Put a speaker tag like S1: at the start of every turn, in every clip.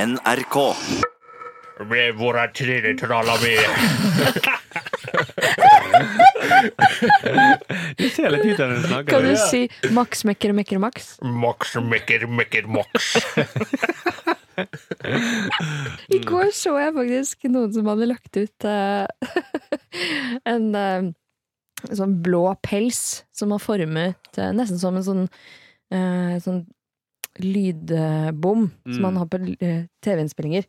S1: NRK.
S2: Hvor er trilletralla mi?
S3: Det ser litt ut som du snakker.
S4: Kan du si Max mekker mekker Max?
S2: Max mekker mekker max.
S4: I går så jeg faktisk noen som hadde lagt ut eh, en eh, sånn blå pels som var formet eh, nesten som en sånn, eh, sånn lydbom
S3: Mm.
S4: som man har på eh, TV-innspillinger,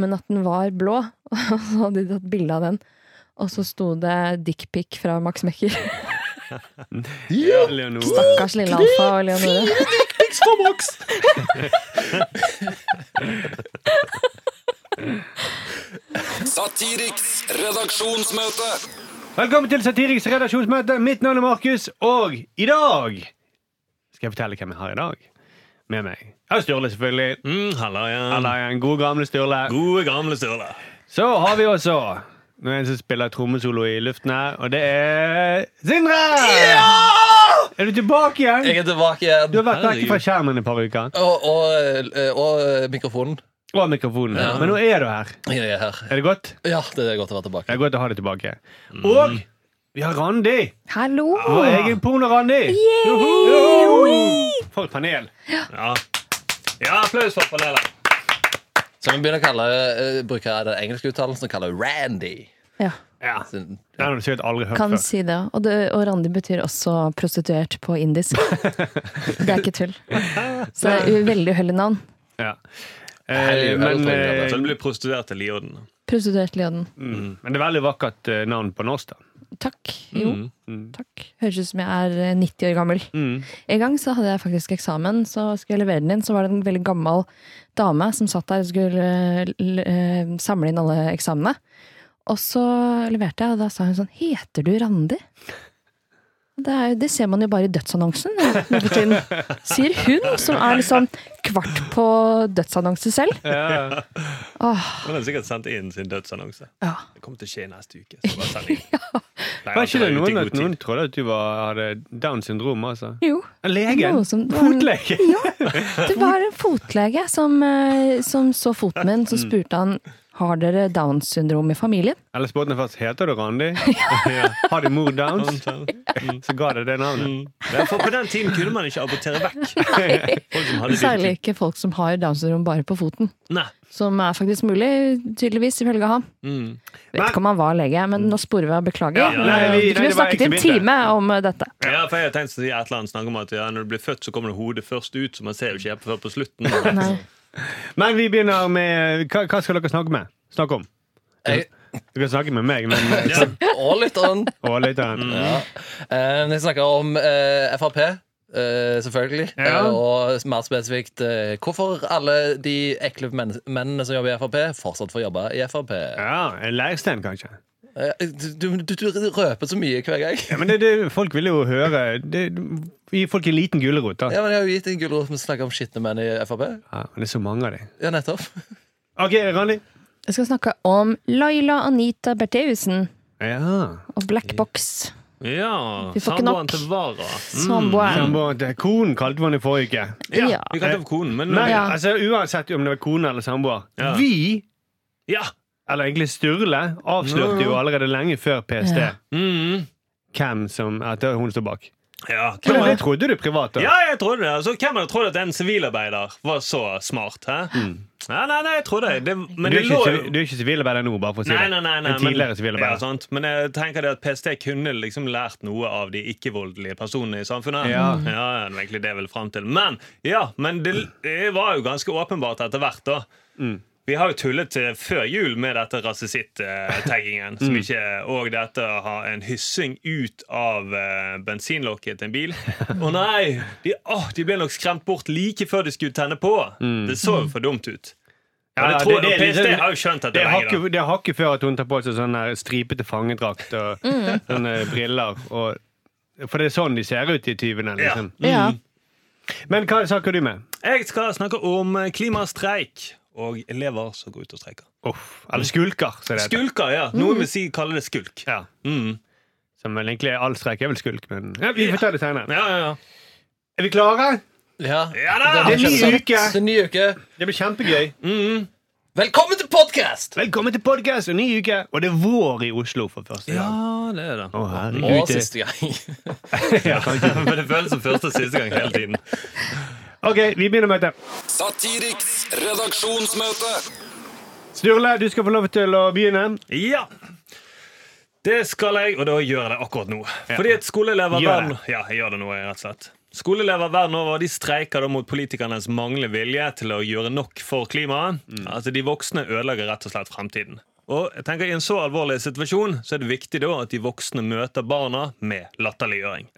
S4: men at den var blå. Og så hadde de tatt bilde av den, og så sto det dickpic fra Max Mekker.
S3: Ja, Leonore.
S4: Stakkars lille Alfa og Leonore.
S5: Satiriks redaksjonsmøte.
S3: Velkommen til Satiriks redaksjonsmøte. Mitt navn er Markus, og i dag skal jeg fortelle hvem jeg har i dag. Med meg. Jeg har Sturle, selvfølgelig.
S2: Mm, Halla igjen.
S3: Eller en god gamle Sturle.
S2: Gode, gamle Sturle.
S3: Så har vi også noen en som spiller trommesolo i luften her, og det er Sindre! Er du tilbake igjen?
S6: Jeg er tilbake igjen.
S3: Du har vært vekk fra
S6: Herregud.
S3: skjermen et par uker.
S6: og, og, og eh, mikrofonen.
S3: Og mikrofonen.
S6: Ja.
S3: Men nå er du her.
S6: Jeg er her.
S3: Er det godt?
S6: Ja, det er godt å være
S3: Det
S6: tilbake.
S3: er godt å ha deg tilbake.
S2: Mm.
S3: Og vi har Randi.
S4: Hallo!
S3: Vår egen porno-Randi. Joho! For et panel.
S2: Ja. ja, applaus for panelet.
S6: Så vi begynner å kalle, eh, bruke den engelske uttalelsen og kalle det Randy.
S4: Ja,
S3: Ja.
S6: Så,
S3: Den har du sikkert aldri hørt
S4: kan
S3: før.
S4: si det. Og, det. og Randi betyr også prostituert på indisk. Det er ikke tull. Så det er jo veldig uheldig navn.
S3: Ja. Eh,
S6: Herlig,
S3: men,
S6: jeg har
S3: eh,
S2: Så du blir prostituert til Lioden.
S4: Prostituert Leoden.
S3: mm, men det er veldig vakkert eh, navn på norsk, da.
S4: Takk. Jo, takk. Høres ut som jeg er eh, 90 år gammel.
S3: Mm.
S4: En gang så hadde jeg faktisk eksamen, så skulle jeg levere den inn. Så var det en veldig gammel dame som satt der og skulle eh, l- eh, samle inn alle eksamene. Og så leverte jeg, og da sa hun sånn Heter du Randi? Det, er, jo- det ser man jo bare i dødsannonsen. nå for tiden. Sier hun, som er liksom kvart på dødsannonse selv.
S3: Ja.
S4: Åh,
S2: Men den har sikkert sendt inn sin dødsannonse.
S4: ja.
S2: Det kommer til å skje neste uke. Så bare send inn. Nei,
S3: Var ikke det
S2: ute
S3: noen
S2: i altså, god
S3: at
S2: tid.
S3: noen trodde at du var, hadde Downs syndrom? altså?
S4: Jo.
S3: Legen?
S4: Noe som-
S3: Fotlege?
S4: Det var en fotlege som, eh, som så foten min, så
S3: Mm.
S4: spurte han har dere Downs syndrom i familien.
S3: Eller spurte han først heter du Randi. Har din mor Downs?
S2: Mm.
S3: Så ga det det navnet.
S2: Ja, for på den tiden kunne man ikke abortere vekk. Folk som hadde
S4: Særlig ikke folk som har Downs syndrom bare på foten.
S2: Nei.
S4: Som er faktisk mulig, tydeligvis, ifølge ham. Vet ikke om han var lege, men nå sporer vi av. Beklager.
S2: Ja,
S3: Mm. nei, vi-
S4: vi
S3: nei,
S4: kunne
S3: det var
S4: snakket i
S3: ikke
S4: en
S3: mitt, det.
S4: time om eh, dette.
S2: Ja, for jeg har tenkt å si et eller annet snakker om at ja, Når du blir født, så kommer hodet først ut, så man ser jo ikke helt før på slutten.
S4: Nei.
S3: Men vi begynner med Hva, hva skal dere snakke med? Snakke om?
S6: jeg,
S3: Du kan snakke med meg, men
S2: Ja.
S6: og lytteren.
S3: og lytteren.
S2: Mm.
S6: Ja. Eh, jeg snakker om eh, Frp. eh, selvfølgelig.
S3: Ja.
S6: Eh, og mer spesifikt eh, hvorfor alle de ekle menn mennene som jobber i Frp, fortsatt får jobbe i Frp.
S3: Ja, en leirstein, kanskje.
S6: Eh, du, du, du røper så mye hver gang.
S3: Ja, men det, det, folk vil jo høre det, Gi folk en liten gulrot, da.
S6: Ja, men Jeg har jo gitt en gulrot med å snakke om skitne menn i Frp.
S3: Ja, men det er så mange av dem.
S6: Ja, nettopp.
S3: OK, Randi.
S4: Jeg skal snakke om Laila Anita Bertheussen
S3: Ja. Mm.
S4: og Black Box.
S2: Ja,
S4: Vi får ikke
S2: Samboeren
S4: nok.
S2: til Vara.
S3: Mm.
S4: Samboeren.
S3: Samboer. Konen kalte man det forrige uke.
S2: Ja,
S4: Ja.
S2: Vi kalte det for konen, men
S3: Nei,
S4: Ja.
S3: altså Uansett om det var kone eller samboer.
S2: Ja.
S3: Vi,
S2: Ja!
S3: eller egentlig Sturle, avslørte jo allerede lenge før PST
S4: Ja.
S2: Mm.
S3: hvem som at det er hun står bak.
S2: ja. hvem
S3: Men
S2: var-
S3: det trodde du privat, da.
S2: Ja, jeg trodde det. Altså, hvem hadde trodd at en sivilarbeider var så smart? Hæ? Nei, nei, nei, jeg trodde det. Men
S3: Mm. du,
S2: det
S3: er
S2: lå
S3: ikke,
S2: jo
S3: siv- du er ikke sivilarbeider nå, bare for å si
S2: Nei,
S3: det.
S2: nei, nei, nei,
S3: en tidligere
S2: men, ja,
S3: sivilarbeider.
S2: sant. men jeg tenker det at PST kunne liksom lært noe av de ikke-voldelige personene i samfunnet.
S3: Ja.
S2: ja, ja, det var egentlig det jeg ville fram til. Men, ja, men det, det var jo ganske åpenbart etter hvert, da.
S3: Mm.
S2: Vi har jo tullet eh, før jul med dette rasisitt-taggingen. som
S3: Mm.
S2: ikke- Og dette å ha en hyssing ut av eh, bensinlokket til en bil. Å nei! De, åh, de ble nok skremt bort like før de skulle tenne på. Det så jo for dumt
S3: Mm.
S2: ut.
S3: Ja,
S2: Og det
S3: ja,
S2: tror,
S3: det-
S2: og
S3: det er
S2: PST
S3: liksom-
S2: har jo skjønt dette
S3: Det er
S2: lenge. da.
S3: hakket hakke før at hun tar på seg sånn der stripete fangedrakt og sånne briller. Og, for det er sånn de ser ut, de tyvene. Liksom.
S4: Ja.
S3: Men hva snakker du med?
S2: Jeg skal snakke om klimastreik og elever som går ut og streiker.
S3: Uff, eller skulker, som det heter.
S2: Skulker, ja. Noen vil si, kalle det skulk.
S3: Ja.
S2: Mm.
S3: Som vel egentlig er all streik er vel skulk, men ja, vi får ta det senere.
S2: Ja, ja, ja.
S3: Er vi klare?
S6: Ja,
S2: Ja da!
S6: blir
S3: Det er ny
S6: kjempe-
S3: uke.
S6: Det er ny uke.
S3: Det blir kjempegøy.
S6: Velkommen til podkast!
S3: Velkommen til podkast og ny uke. Og det er vår i Oslo for første gang.
S2: det er det.
S3: Å, herregud.
S6: Og
S3: det-
S6: siste gang.
S3: Ja, kanskje.
S2: Men det føles som første og siste gang hele tiden.
S3: OK, vi begynner møtet.
S5: Satiriks redaksjonsmøte.
S3: Sturle, du skal få lov til å begynne.
S2: Ja. Det skal jeg, og da gjør jeg det akkurat nå. Fordi at skoleelever
S3: Gjør
S2: verden,
S3: det.
S2: Ja, jeg gjør det nå, jeg, rett og slett. Skoleelever verden over de streiker da mot politikernes manglende vilje til å gjøre nok for klimaet.
S3: Mm.
S2: Altså, De voksne ødelegger rett og slett fremtiden. Og jeg tenker I en så alvorlig situasjon så er det viktig da at de voksne møter barna med latterliggjøring.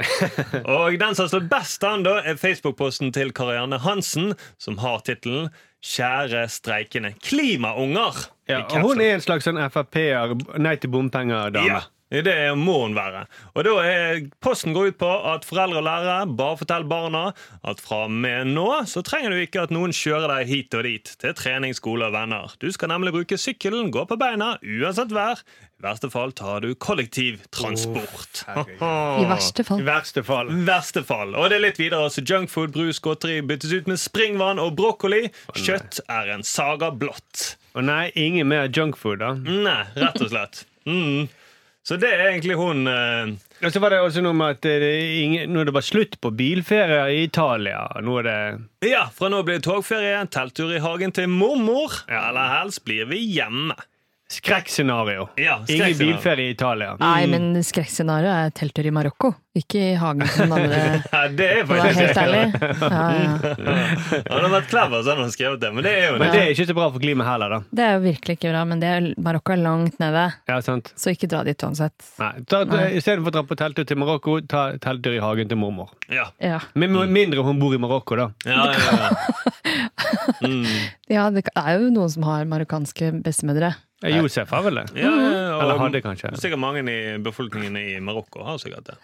S2: Og den som står best an, da, er Facebook-posten til Karianne Hansen, som har tittelen 'Kjære streikende klimaunger'.
S3: Ja,
S2: I
S3: og hun
S2: caps
S3: er en slags sånn Frp-er, nei til bompenger-dame.
S2: ja, det må hun være. Og da er Posten går ut på at foreldre og lærere bare fortell barna at fra og med nå så trenger du ikke at noen kjører deg hit og dit til trening, skole og venner. Du skal nemlig bruke sykkelen, gå på beina, uansett vær. I verste fall tar du kollektivtransport.
S4: I
S3: Mm. I
S4: verste fall.
S3: verste fall.
S2: verste fall. Og det er litt videre. altså Junkfood, brus, godteri byttes ut med springvann og brokkoli. Kjøtt er en saga blått.
S3: Og nei, ingen mer junkfood, da.
S2: Nei, rett og slett. Mm. Så det er egentlig hun eh,
S3: Og så var det også noe med at eh, det er ingen, nå er det bare slutt på bilferier i Italia. Nå er det
S2: Ja, fra nå blir det togferie, telttur i hagen til mormor. Eller helst blir vi hjemme.
S3: skrekkscenario.
S2: Ja,
S3: Ingen
S2: skrekkscenario.
S3: bilferie i Italia.
S4: Nei, men skrekkscenarioet er telttur i Marokko, ikke i hagen til den andre.
S2: Ja, det er
S4: For å være
S2: faktisk
S4: helt ærlig. Ja, ja.
S2: Han har vært clever sånn han har skrevet det, men det er jo
S3: Men
S2: det.
S3: det er ikke så bra for klimaet heller, da.
S4: Det er jo virkelig ikke bra, men det er, Marokko er langt nede,
S3: Ja, sant?
S4: så ikke dra dit uansett.
S3: Nei. Ta, ta,
S4: Nei.
S3: Istedenfor å dra på telttur til Marokko, ta telttur i hagen til mormor.
S2: Ja.
S4: Ja,
S3: Med
S2: Mm.
S3: med mindre hun bor i Marokko, da.
S2: Ja, ja, ja.
S4: ja det er jo noen som har marokkanske bestemødre.
S3: Eh, Josef har vel det?
S2: ja, ja, ja.
S3: Eller hadde kanskje.
S2: Sikkert mange i befolkningen i Marokko har sikkert det.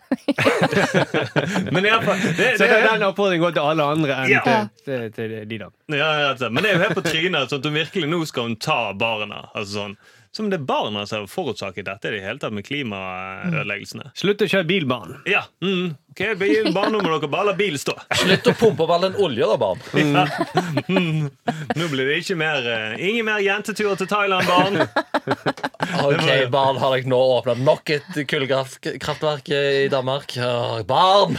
S2: Men i alle fall, det,
S3: Så
S2: det,
S3: det, den oppfordringen går til alle andre enn
S2: Ja.
S3: til, til, til de, da.
S2: ja, rett og slett. Men det er jo helt på trynet sånn at hun virkelig nå skal hun ta barna. Altså sånn. Som det er barna som har forårsaket dette i det hele tatt med klimaødeleggelsene.
S3: Slutt å kjøre bil, barn.
S2: Ja. Mm. Ok, bil, bare nå må dere bare la bilen stå.
S6: Slutt å pumpe opp all den olja, da, barn.
S2: Nå blir det ikke mer, eh, ingen mer jenteturer til Thailand, barn.
S6: Ok, barn, har dere nå åpnet nok et kullkraftverk i Danmark? Åh, Barn!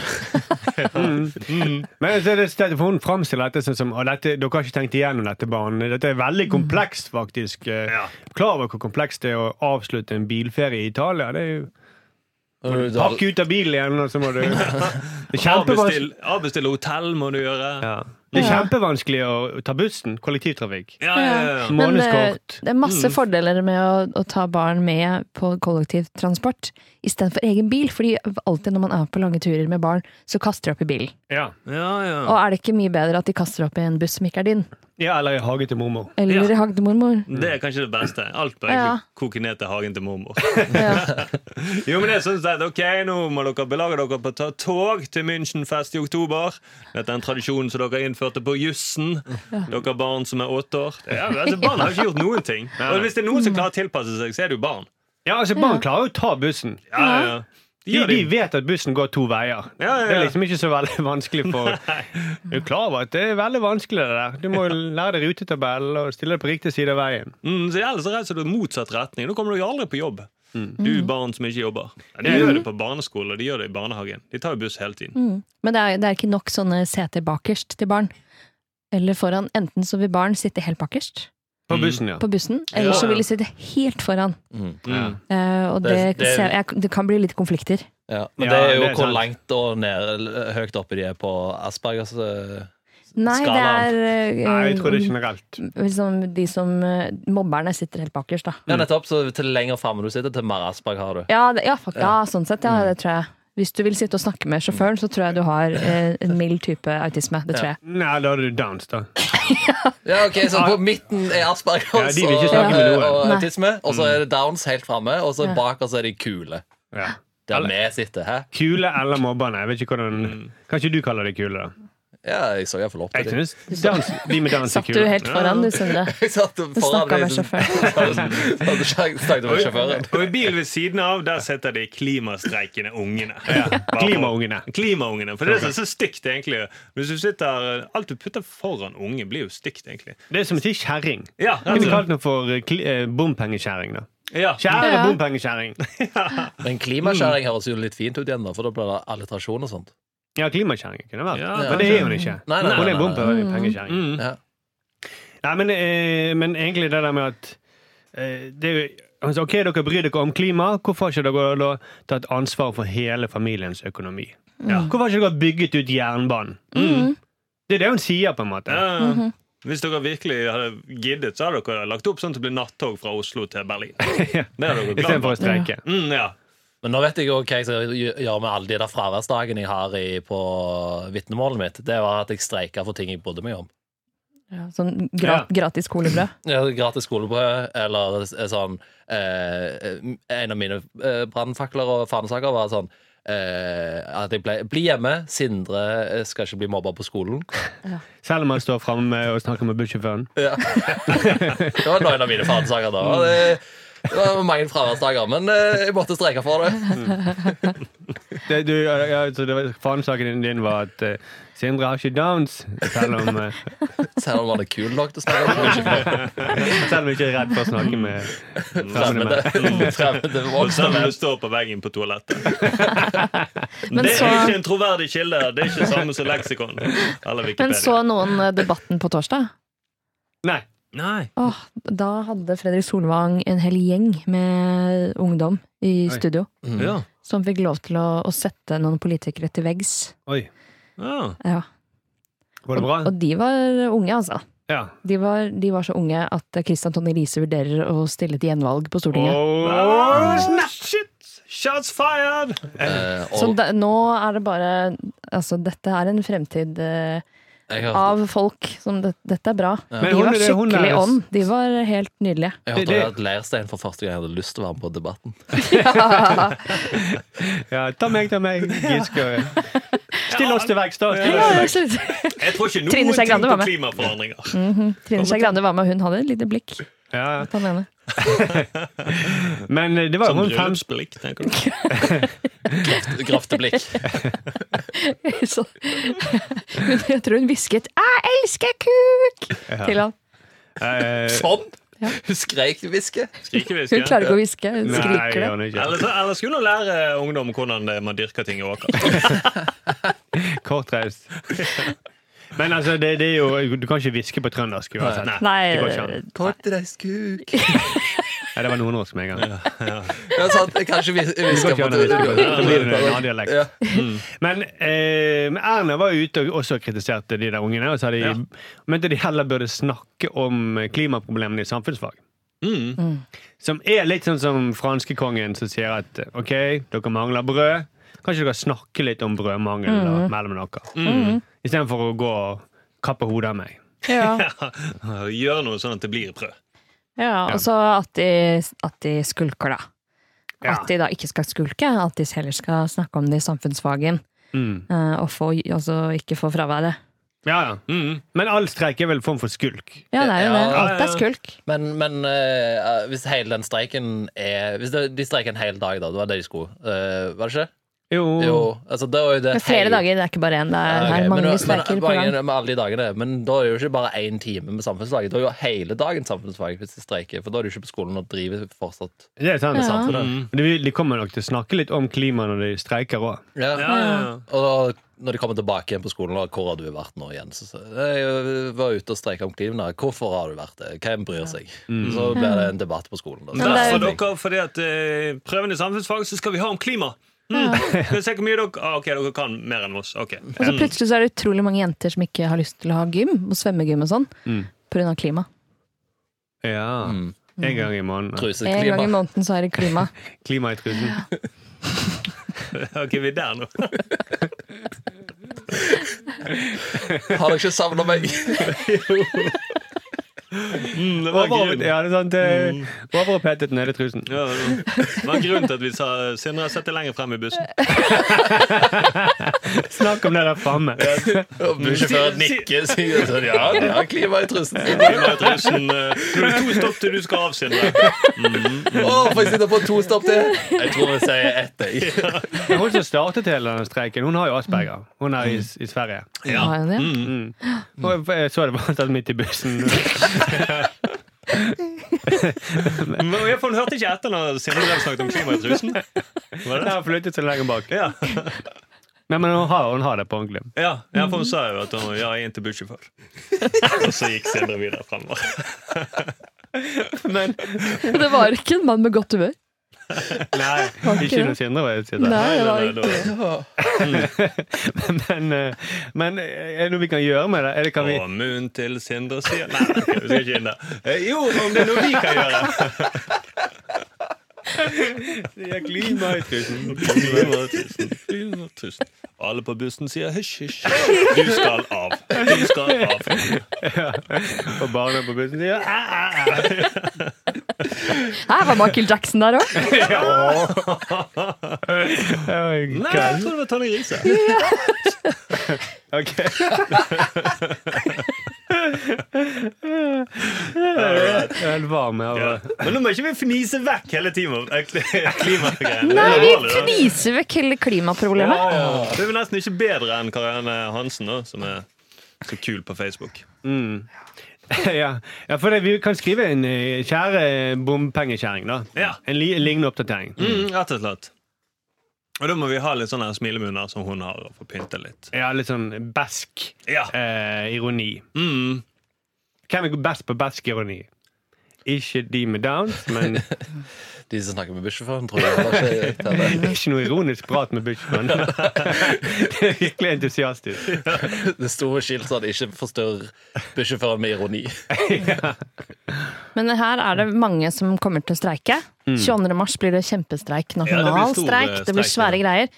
S3: Men så er det stedet for Hun framstiller dette sånn som «Å, dette, Dere har ikke tenkt igjennom dette, barn. Dette er veldig komplekst, faktisk. Eh,
S2: Mm. Ja.
S3: Klar over hvor komplekst det er å avslutte en bilferie i Italia. Det er jo
S6: Har
S3: Pakk ut av bilen igjen, og så må du Det er kjempevanskelig,
S2: Avbestill, avbestille hotell må du gjøre.
S3: ja. det er kjempevanskelig å ta bussen. Kollektivtrafikk.
S2: Ja, ja, ja.
S4: Men
S2: ja.
S4: eh,
S3: Månedskort.
S4: det er masse fordeler med å, å ta barn med på kollektivtransport istedenfor egen bil. Fordi alltid når man er på lange turer med barn, så kaster de opp i bilen.
S3: Ja.
S2: ja,
S4: Og
S2: ja.
S4: er det ikke mye bedre at de kaster opp i en buss som ikke er din?
S3: ja, eller i hage til mormor.
S4: Eller
S2: Ja.
S4: i hagen til mormor?
S2: Det er kanskje det beste. Alt bør
S4: Ja.
S2: egentlig koke ned til hagen til mormor.
S4: Ja.
S2: Jo, men det er sånn at, ok, Nå må dere belage dere på å ta tog til Münchenfest i oktober. Dette er en tradisjon som dere innførte på jussen. Dere barn som er åtte år. Ja, altså, barn har ikke gjort noen ting. Og hvis det er noen som klarer å tilpasse seg, så er det jo barn.
S3: Ja, altså Barn klarer jo å ta bussen.
S2: Ja, ja, ja. De
S3: De,
S2: gjør
S3: de
S2: det.
S3: vet at bussen går to veier.
S2: Ja, ja, ja.
S3: Det er liksom ikke så veldig vanskelig for Du er klar over at det er veldig vanskelig, det der. Du må jo lære deg rutetabellen og stille deg på riktig side av veien.
S2: Mm, så ellers reiser du i motsatt retning. Nå kommer du jo aldri på jobb.
S3: Mm.
S2: Du barn som ikke jobber. Ja, de gjør det på barneskole og de gjør det i barnehagen. De tar jo buss hele tiden.
S4: Men det er, det er ikke nok sånne seter bakerst til barn. Eller foran. Enten så vil barn sitte helt bakerst
S3: På bussen, ja.
S4: på bussen, eller
S2: Ja,
S4: så
S2: ja.
S4: vil de sitte helt foran.
S3: Mm. ja.
S4: Eh, og det,
S6: Det- det-
S4: ser, jeg, det kan bli litt konflikter.
S6: Ja, men
S3: Ja,
S6: det er jo
S3: det er
S6: hvor
S3: sant.
S6: langt og ned, eller høyt oppe de er på Aspergers eh,
S4: Nei, det
S6: Skalaen.
S4: er eh,
S3: Nei, jeg tror det er generelt.
S4: liksom de som eh, Mobberne sitter helt bakerst, da.
S6: Ja,
S3: Mm.
S6: nettopp. Så til lenger framme du sitter, til mer Asperger har du.
S4: Ja, det, ja, fuck, ja sånn sett. Ja,
S3: Mm.
S4: det tror jeg. Hvis du vil sitte og snakke med sjåføren, så tror jeg du har eh, en mild type autisme. Det tror jeg.
S3: Nei, da er du downs, da.
S6: Ja, ok, Så på midten er
S3: Ja,
S6: Aspergers
S3: de vil ikke
S6: og,
S3: snakke med
S6: eh,
S3: noen. Mm.
S6: og
S4: Nei.
S6: autisme, og så er det Downs helt framme, og så bak oss er de kule.
S3: Ja.
S6: Der vi sitter. Hæ? Mm.
S3: Kule eller mobberne. Jeg vet ikke hvordan Kanskje du kaller det kule, da.
S6: Ja, jeg så iallfall opp
S3: Jeg
S6: til dem.
S3: synes dans, de med dans er
S4: Satt du
S3: kule.
S4: helt foran, du, Sindre?
S6: Jeg satt
S4: Du
S6: foran
S4: snakka med
S6: dem.
S4: sjåføren.
S6: Hadde snak- Snakket med sjåføren.
S2: Og i bilen ved siden av der sitter de klimastreikende ungene. Bare-
S3: Klimaungene.
S2: Klimaungene, For det er så- så stygt, egentlig. Hvis du sitter, Alt du putter foran unge, blir jo stygt, egentlig.
S3: Det er som å si kjerring.
S2: Ja,
S3: Kunne vi
S2: altså.
S3: kalt den for eh, kli- eh, bompengekjerring, da.
S2: ja.
S3: Kjære
S4: Ja.
S3: bompengekjerring.
S6: Men klimakjæring høres jo litt fint ut igjen, da, for da blir det alliterasjon og sånt.
S3: Ja, klimakjerring kunne det vært.
S2: Ja,
S3: men det er hun ikke.
S6: Nei, nei, nei,
S3: hun
S6: nei,
S3: er
S6: nei.
S4: Mm.
S3: bompengekjerring.
S2: Mm.
S6: Ja.
S3: Nei, men, eh, men egentlig det der med at eh, det er jo, han sa, OK, dere bryr dere om klima. Hvorfor har ikke dere da tatt ansvar for hele familiens økonomi? Mm. Hvorfor har ikke dere bygget ut jernbanen? Mm. Det er det hun sier, på en måte.
S2: Ja. Hvis dere virkelig hadde giddet, så hadde dere lagt opp sånn at det blir nattog fra Oslo til Berlin. Det hadde dere glad
S3: Istedenfor
S2: for.
S3: å streike.
S2: Mm, ja.
S6: Men nå vet jeg jo hva jeg skal gjø- gjøre med alle de der fraværsdagene jeg har i, på vitnemålet mitt. Det var at jeg streika for ting jeg brydde meg om.
S4: Ja, sånn grat, gratis skolebrød.
S6: Ja, Gratis skolebrød eller s- sånn eh, En av mine eh, brannfakler og fanesaker var sånn eh, At jeg ble Bli hjemme. Sindre eh, skal ikke bli mobba på skolen.
S3: Selv om han står framme og snakker med bussjåføren.
S6: Ja. det var noen av mine fanesaker da. Og det, det var mange fraværsdager, men eh, jeg måtte streike for det.
S3: Det, du, ja, så det var- Fanesaken din var at eh, Sindre har ikke downs, selv om eh,
S6: Selv om han er kul nok til å snakke om det.
S3: Selv om jeg ikke er redd for å snakke med fremmede menn.
S6: Fremmede, fremmede
S2: Og
S6: voksne
S2: selv om
S6: menn.
S2: du står på veggen på toalettet.
S4: Men
S2: Det er
S4: så-
S2: ikke en troverdig kilde. Det er ikke samme som leksikon. Eller
S4: Men
S2: Wikipedia.
S4: så noen eh, Debatten på torsdag?
S3: Nei.
S2: Nei.
S4: Åh, da hadde Fredrik Solvang en hel gjeng med ungdom i
S3: Oi.
S4: studio.
S3: Mm.
S2: Ja.
S4: Som fikk lov til å, å sette noen politikere til veggs.
S3: Oi.
S2: Ja.
S4: Ja.
S3: Var det bra?
S4: Og de var unge, altså.
S3: Ja.
S4: De var, de var så unge at Kristian Tonje Riise vurderer å stille til gjenvalg på Stortinget.
S3: Åh,
S2: snap, shit! Shots fired!
S6: Eh, og
S4: Så da- nå er det bare Altså, dette er en fremtid eh,
S6: jeg hørte-
S4: av folk som det, Dette er bra.
S3: Men
S4: De
S3: hun
S4: var
S3: er det- hun
S4: skikkelig
S3: er- altså-
S4: on. De var helt nydelige.
S3: Det-
S6: Jeg hørte
S3: det-
S6: at Leirstein for første gang hadde lyst til å være med på Debatten.
S3: Ja, ta meg, ta meg. Giske. Still oss til veggs, da. Still oss
S4: Ja,
S3: til veggs.
S4: absolutt.
S2: Jeg tror ikke
S4: Trine
S2: noen
S4: Skei
S2: ting
S4: Grande var
S2: på
S4: med.
S2: klimaforandringer.
S4: Mhm. Trine Skei Grande var med, og hun hadde et lite blikk.
S3: Ja.
S4: på den ene.
S3: Men eh, det var
S2: Som
S3: jo rundt fem
S2: Sånn bryllupsblikk, tenker du.
S6: Grafte blikk.
S4: Så, men jeg tror hun hvisket 'Jeg elsker kuk!' til han.
S3: eh,
S6: Sånn!
S4: Ja.
S6: Skreik hviske.
S2: Skrikeviske.
S4: Hun klarer ikke å hviske. Hun
S3: Nei,
S4: skriker
S3: gjør
S4: det.
S3: han ikke.
S2: Eller, så, eller skulle hun lære ungdom hvordan det- man dyrker ting i åker?
S3: Kortreist. Men altså, det, det er jo Du kan ikke hviske på trøndersk uansett.
S2: Nei.
S3: Det går ikke
S4: Nei,
S3: an.
S6: Kortreist kuk.
S3: Nei, det var nordnorsk med en gang.
S6: Ja, sant. Jeg kan ikke hvis-
S3: Det går
S6: hviske
S3: ikke
S6: på
S3: an å hviske på- Da blir det en annen
S6: det.
S3: dialekt.
S6: Ja.
S3: Men eh, men Erna var jo ute og også kritiserte de der ungene. Og sa de,
S2: Ja.
S3: mente de heller burde snakke om eh, klimaproblemene i samfunnsfag.
S2: Mm.
S3: Som er litt sånn som franskekongen som sier at eh, OK, dere mangler brød. Kanskje dere snakke litt om brødmangel da, mellom dere. Mm. Istedenfor å gå og kappe hodet av meg.
S4: ja.
S2: Gjør noe sånn at det blir brød.
S4: ja, Og så at de, at de skulker, da.
S3: Ja.
S4: At de da ikke skal skulke, at de heller skal snakke om det i samfunnsfagen.
S3: Mm.
S4: eh, Og få, altså ikke få fraværet.
S3: Ja, ja.
S2: Mm.
S3: Men all streik er vel en form for skulk.
S4: Ja, det er jo
S6: Ja,
S4: det.
S6: ja,
S4: Alt er skulk.
S6: Men, men eh, hvis hele den streiken er Hvis det, de streiker en hel dag, da. Det var det de skulle. eh, var det ikke?
S3: Jo.
S6: Jo. Altså, da er jo det
S4: Mm. Det er flere
S6: hele-
S4: dager, det er ikke bare én. Det er,
S6: Ja, ok,
S4: det er
S6: men,
S4: mange
S6: men,
S4: streker på
S6: mange-
S4: gang.
S6: Med alle de dagene, men da er det jo ikke bare én time med samfunnsfag. Da er jo hele dagen samfunnsfag hvis de streiker, for da er du ikke på skolen og driver fortsatt.
S3: Det er sant.
S4: Ja.
S3: samfunnet. Men De, de kommer nok til å snakke litt om klima når de streiker òg.
S2: Ja, ja, ja.
S6: Og da, når de kommer tilbake igjen på skolen, da, hvor har du vært nå igjen? Så, så, jeg var ute og streika om klima. Hvorfor har du vært det? Hvem bryr seg? Så blir det en debatt på skolen. Da.
S4: Mm. Men det er-
S2: Derfor Mm. dere, fordi at eh, prøven i samfunnsfag, så skal vi ha om klima. Mm. Skal vi se hvor mye dere ah, Ok, dere kan mer enn oss. Ok.
S4: Og så
S2: Mm.
S4: plutselig så er det utrolig mange jenter som ikke har lyst til å ha gym, og svømmegym og sånn,
S3: Mm.
S4: pga. klima.
S3: Ja.
S6: Mm.
S3: En gang i måneden.
S4: En gang i
S6: Truseklima.
S4: måneden så er det klima.
S3: Klima i trusen.
S2: Ok, vi er der nå.
S6: Har dere ikke savna meg?
S2: Mm, det var
S3: Over-
S2: grunn.
S3: Ja, det er sant. eh, Overopphetet nede i trusen.
S2: Ja, det var grunnen til at vi sa Sindre, sett deg lenger frem i bussen.
S3: Snakk om det der framme.
S6: Og Bussjåføren nikker sier sånn Ja, det er klima i trusen. Å,
S2: Tusen, eh, Nå er det to stopp til du skal avskille deg.
S6: får jeg sitte på to stopp til? Jeg tror vi sier ett. jeg.
S3: Men Hun som startet hele denne streiken, hun har jo asperger.
S2: Mm.
S3: Hun er i, i Sverige.
S2: Ja.
S4: Har han det?
S2: Mm.
S3: Og jeg så det bare tatt midt i bussen.
S2: Men jeg for hun hørte ikke etter når Sindre Drev snakket om klima i trusen. Var
S3: Jeg
S2: det?
S3: har flyttet så lenge bak.
S2: Ja.
S3: Nei, men hun har, hun har det på ordentlig.
S2: Ja, ja, for hun sa jo at hun ja, jeg er en til bussjåfør. Og så gikk Sindre videre fremover.
S3: Men
S4: Det var ikke en mann med godt humør.
S3: nei,
S4: Var ikke
S3: ikke noe
S4: det?
S3: Sindre var ute
S4: Nei, det var
S2: nei,
S4: ikke
S2: det
S4: det.
S3: Men, eh, men eh, er det noe vi kan gjøre med det? Er det kan vi,
S2: Og munnen til Sindre sier Nei, ok, vi skal ikke inn der. Eh, Jo, om det er noe vi kan gjøre!
S3: det er klima i trusen.
S2: Klima i trusen, klima i trusen. Alle på bussen sier hysj, hysj. Du skal av. Du skal av.
S3: Og barna på bussen sier "Ah!" "Æ, æ, æ."
S4: Her var Michael Jackson der òg.
S3: Å,
S2: Nei,
S3: Gud.
S2: jeg tror det var Tonje Grise.
S3: Ok. Jeg er helt varm her.
S2: Ja.
S3: bare.
S2: Men nå må ikke vi fnise vekk hele timen. eh, kli-
S4: Nei,
S2: klimagreiene. Det er
S4: vi
S2: alvorlig, da.
S4: fniser vekk hele klimaproblemet.
S2: Det er vel nesten ikke bedre enn Karianne Hansen, da, som er så kul på Facebook.
S3: ja. ja, for det, vi kan skrive en eh, kjære bompengekjerring, da.
S2: Ja.
S3: En li lignende oppdatering.
S2: Mm, rett og slett. Og da må vi ha litt sånne smilemunner som hun har, og få pynte litt.
S3: Ja, litt sånn besk
S2: Ja.
S3: eh, ironi.
S2: Mm.
S3: Hvem er best på besk ironi? Ikke de med downs, men
S6: De som snakker med bussjåføren, tror jeg heller ikke teller.
S3: ikke noe ironisk prat med Bushman. det er virkelig entusiastisk.
S6: Det sto skilt sånn 'Ikke forstyrr bussjåføren med ironi'.
S4: Men her er det mange som kommer til å streike. 22. mars blir det kjempestreik.
S2: blir
S4: Nasjonal
S2: stor, eh,
S4: streik. Det blir
S2: streik,
S4: svære greier.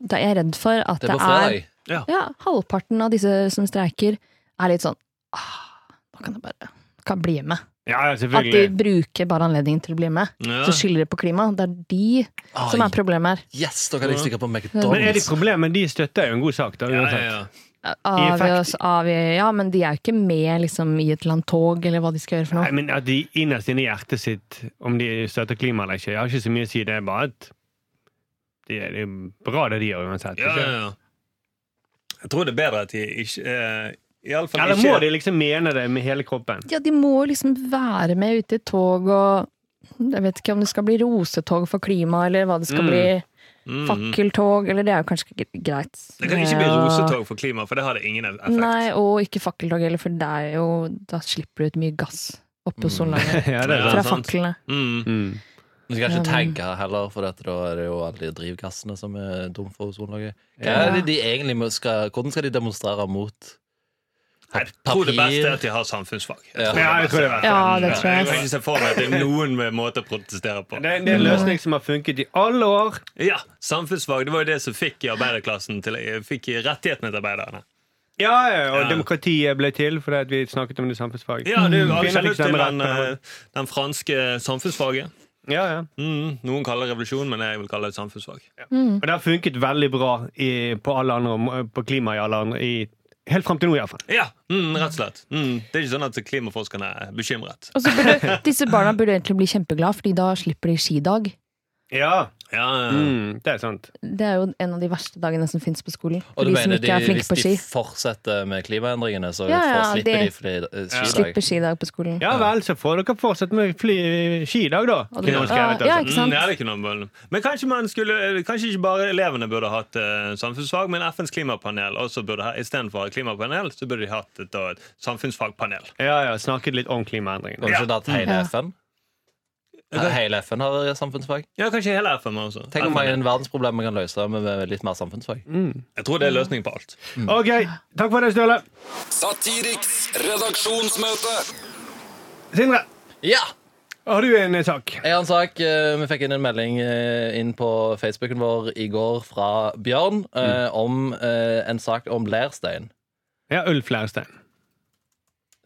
S4: Da er jeg redd for at
S6: Det
S4: det,
S6: var
S4: er
S6: fredag.
S4: ja, Halvparten av disse som streiker, er litt sånn ah, Nå kan jeg bare kan bli med.
S3: Ja, ja,
S4: At de
S3: selvfølgelig.
S4: bruker bare anledningen til å bli med.
S2: Ja.
S4: Så skylder de på klima. Det er de som
S6: Ai.
S4: er problemet her.
S6: Yes, da kan jeg stikke på
S3: Men er det
S6: McDonald's.
S3: problemet? De støtter jo en god sak. Da,
S2: Ja,
S3: uansett.
S2: ja, ja.
S4: Av,
S3: effekt.
S4: av, ja, men de er jo ikke med liksom, i et eller annet tog, eller hva de skal gjøre for
S3: Nei,
S4: noe.
S3: men At de innerst inne i hjertet sitt, om de støtter klima eller ikke, jeg har ikke så mye å si. Det er bare at det er, det er bra, det de gjør uansett.
S2: ja, ja,
S3: ikke?
S2: ja. Jeg tror det er bedre at de ikke eh, Iallfall
S3: Eller
S2: ikke
S3: må de liksom mene det med hele kroppen?
S4: Ja, de må jo liksom være med ute i tog og Jeg vet ikke om det skal bli rosetog for klima, eller hva det skal
S3: Mm.
S4: bli.
S2: Mm.
S4: Fakkeltog, eller det er jo kanskje ikke gre- greit.
S2: Det kan ikke bli rosetog for klima, for det har det ingen effekt.
S4: Nei, og ikke fakkeltog heller, for det er jo Da slipper du ut mye gass oppå sollandet
S3: Ja, det er
S2: Mm.
S3: det.
S2: Ja.
S4: fra
S2: sant.
S4: faklene.
S2: Mm.
S3: Mm.
S6: Du skal
S4: Ja, men-
S6: ikke tagge heller, for dette, da er det jo alle de drivgassene som er dumme for ozonlaget. Hva er det de egentlig må- skal, hvordan skal de demonstrere mot?
S2: Nei, Jeg tror det beste er at de har samfunnsfag.
S6: Ja.
S3: Ja, jeg tror det er det.
S4: Ja, det tror
S2: Jeg kan
S4: jeg.
S2: ikke se for meg at det er noen måte å protestere på.
S3: Det er det er en løsning som har funket i alle år.
S2: Ja, Samfunnsfag det var jo det som fikk i arbeiderklassen til, fikk i rettighetene til arbeiderne.
S3: Ja, ja, og
S2: Ja.
S3: demokratiet ble til fordi at vi snakket om det i samfunnsfag.
S2: Ja, det er jo
S3: Kvinner fikk
S2: absolutt til den,
S3: stemmerett.
S2: eh, den franske samfunnsfaget.
S3: Ja, ja.
S2: Mm, noen kaller det revolusjon, men jeg vil kalle det samfunnsfag.
S3: Og det har funket veldig bra i, på, alle andre, om- på klima i alle andre i, Helt fram til nå, iallfall.
S2: Ja, mm, rett og slett. Mm, det er ikke sånn at klimaforskerne er bekymret.
S4: Og så burde, disse barna burde egentlig bli kjempeglade, fordi da slipper de skidag.
S3: Ja.
S2: Ja, ja.
S3: Mm, det er sant.
S4: Det er jo en av de verste dagene som finnes på skolen.
S6: Og
S4: For
S6: du
S4: de som
S6: mener
S4: ikke
S6: de,
S4: er flinke
S6: hvis
S4: på ski.
S6: de fortsetter med klimaendringene, så
S4: Ja, ja,
S6: får- slipper
S4: det-
S6: de fordi eh, skidag?
S4: Slipper skidag på skolen.
S3: Ja vel, så får dere fortsette med fly, skidag, da.
S4: Og det-
S3: Kunne hun skrevet,
S4: Ja,
S3: altså.
S4: ikke sant?
S2: Mm, ja, det er ikke noe problem. Men kanskje, man skulle, kanskje ikke bare elevene burde hatt eh, samfunnsfag, men FNs klimapanel også burde ha, istedenfor å ha klimapanel, så burde de hatt et, da, et samfunnsfagpanel.
S3: Ja, ja, snakket litt om klimaendringene.
S6: Kan du ikke hatt hele
S4: Ja.
S6: FN? He- Hele FN har samfunnsfag.
S2: Ja, kanskje hele FN også.
S6: Tenk om mange
S2: FN.
S6: verdensproblemer vi kan løse med med litt mer samfunnsfag.
S2: Jeg tror det
S4: Mm.
S2: er løsningen på alt.
S3: Ok, takk for det, Støle.
S5: Satiriks redaksjonsmøte.
S3: Sindre,
S6: Ja!
S3: har du en eh, sak?
S6: Jeg har en sak. eh, Vi fikk inn en melding eh, inn på Facebooken vår i går fra Bjørn eh, om eh, en sak om leirstein.
S3: Ja, Ulf Leirstein.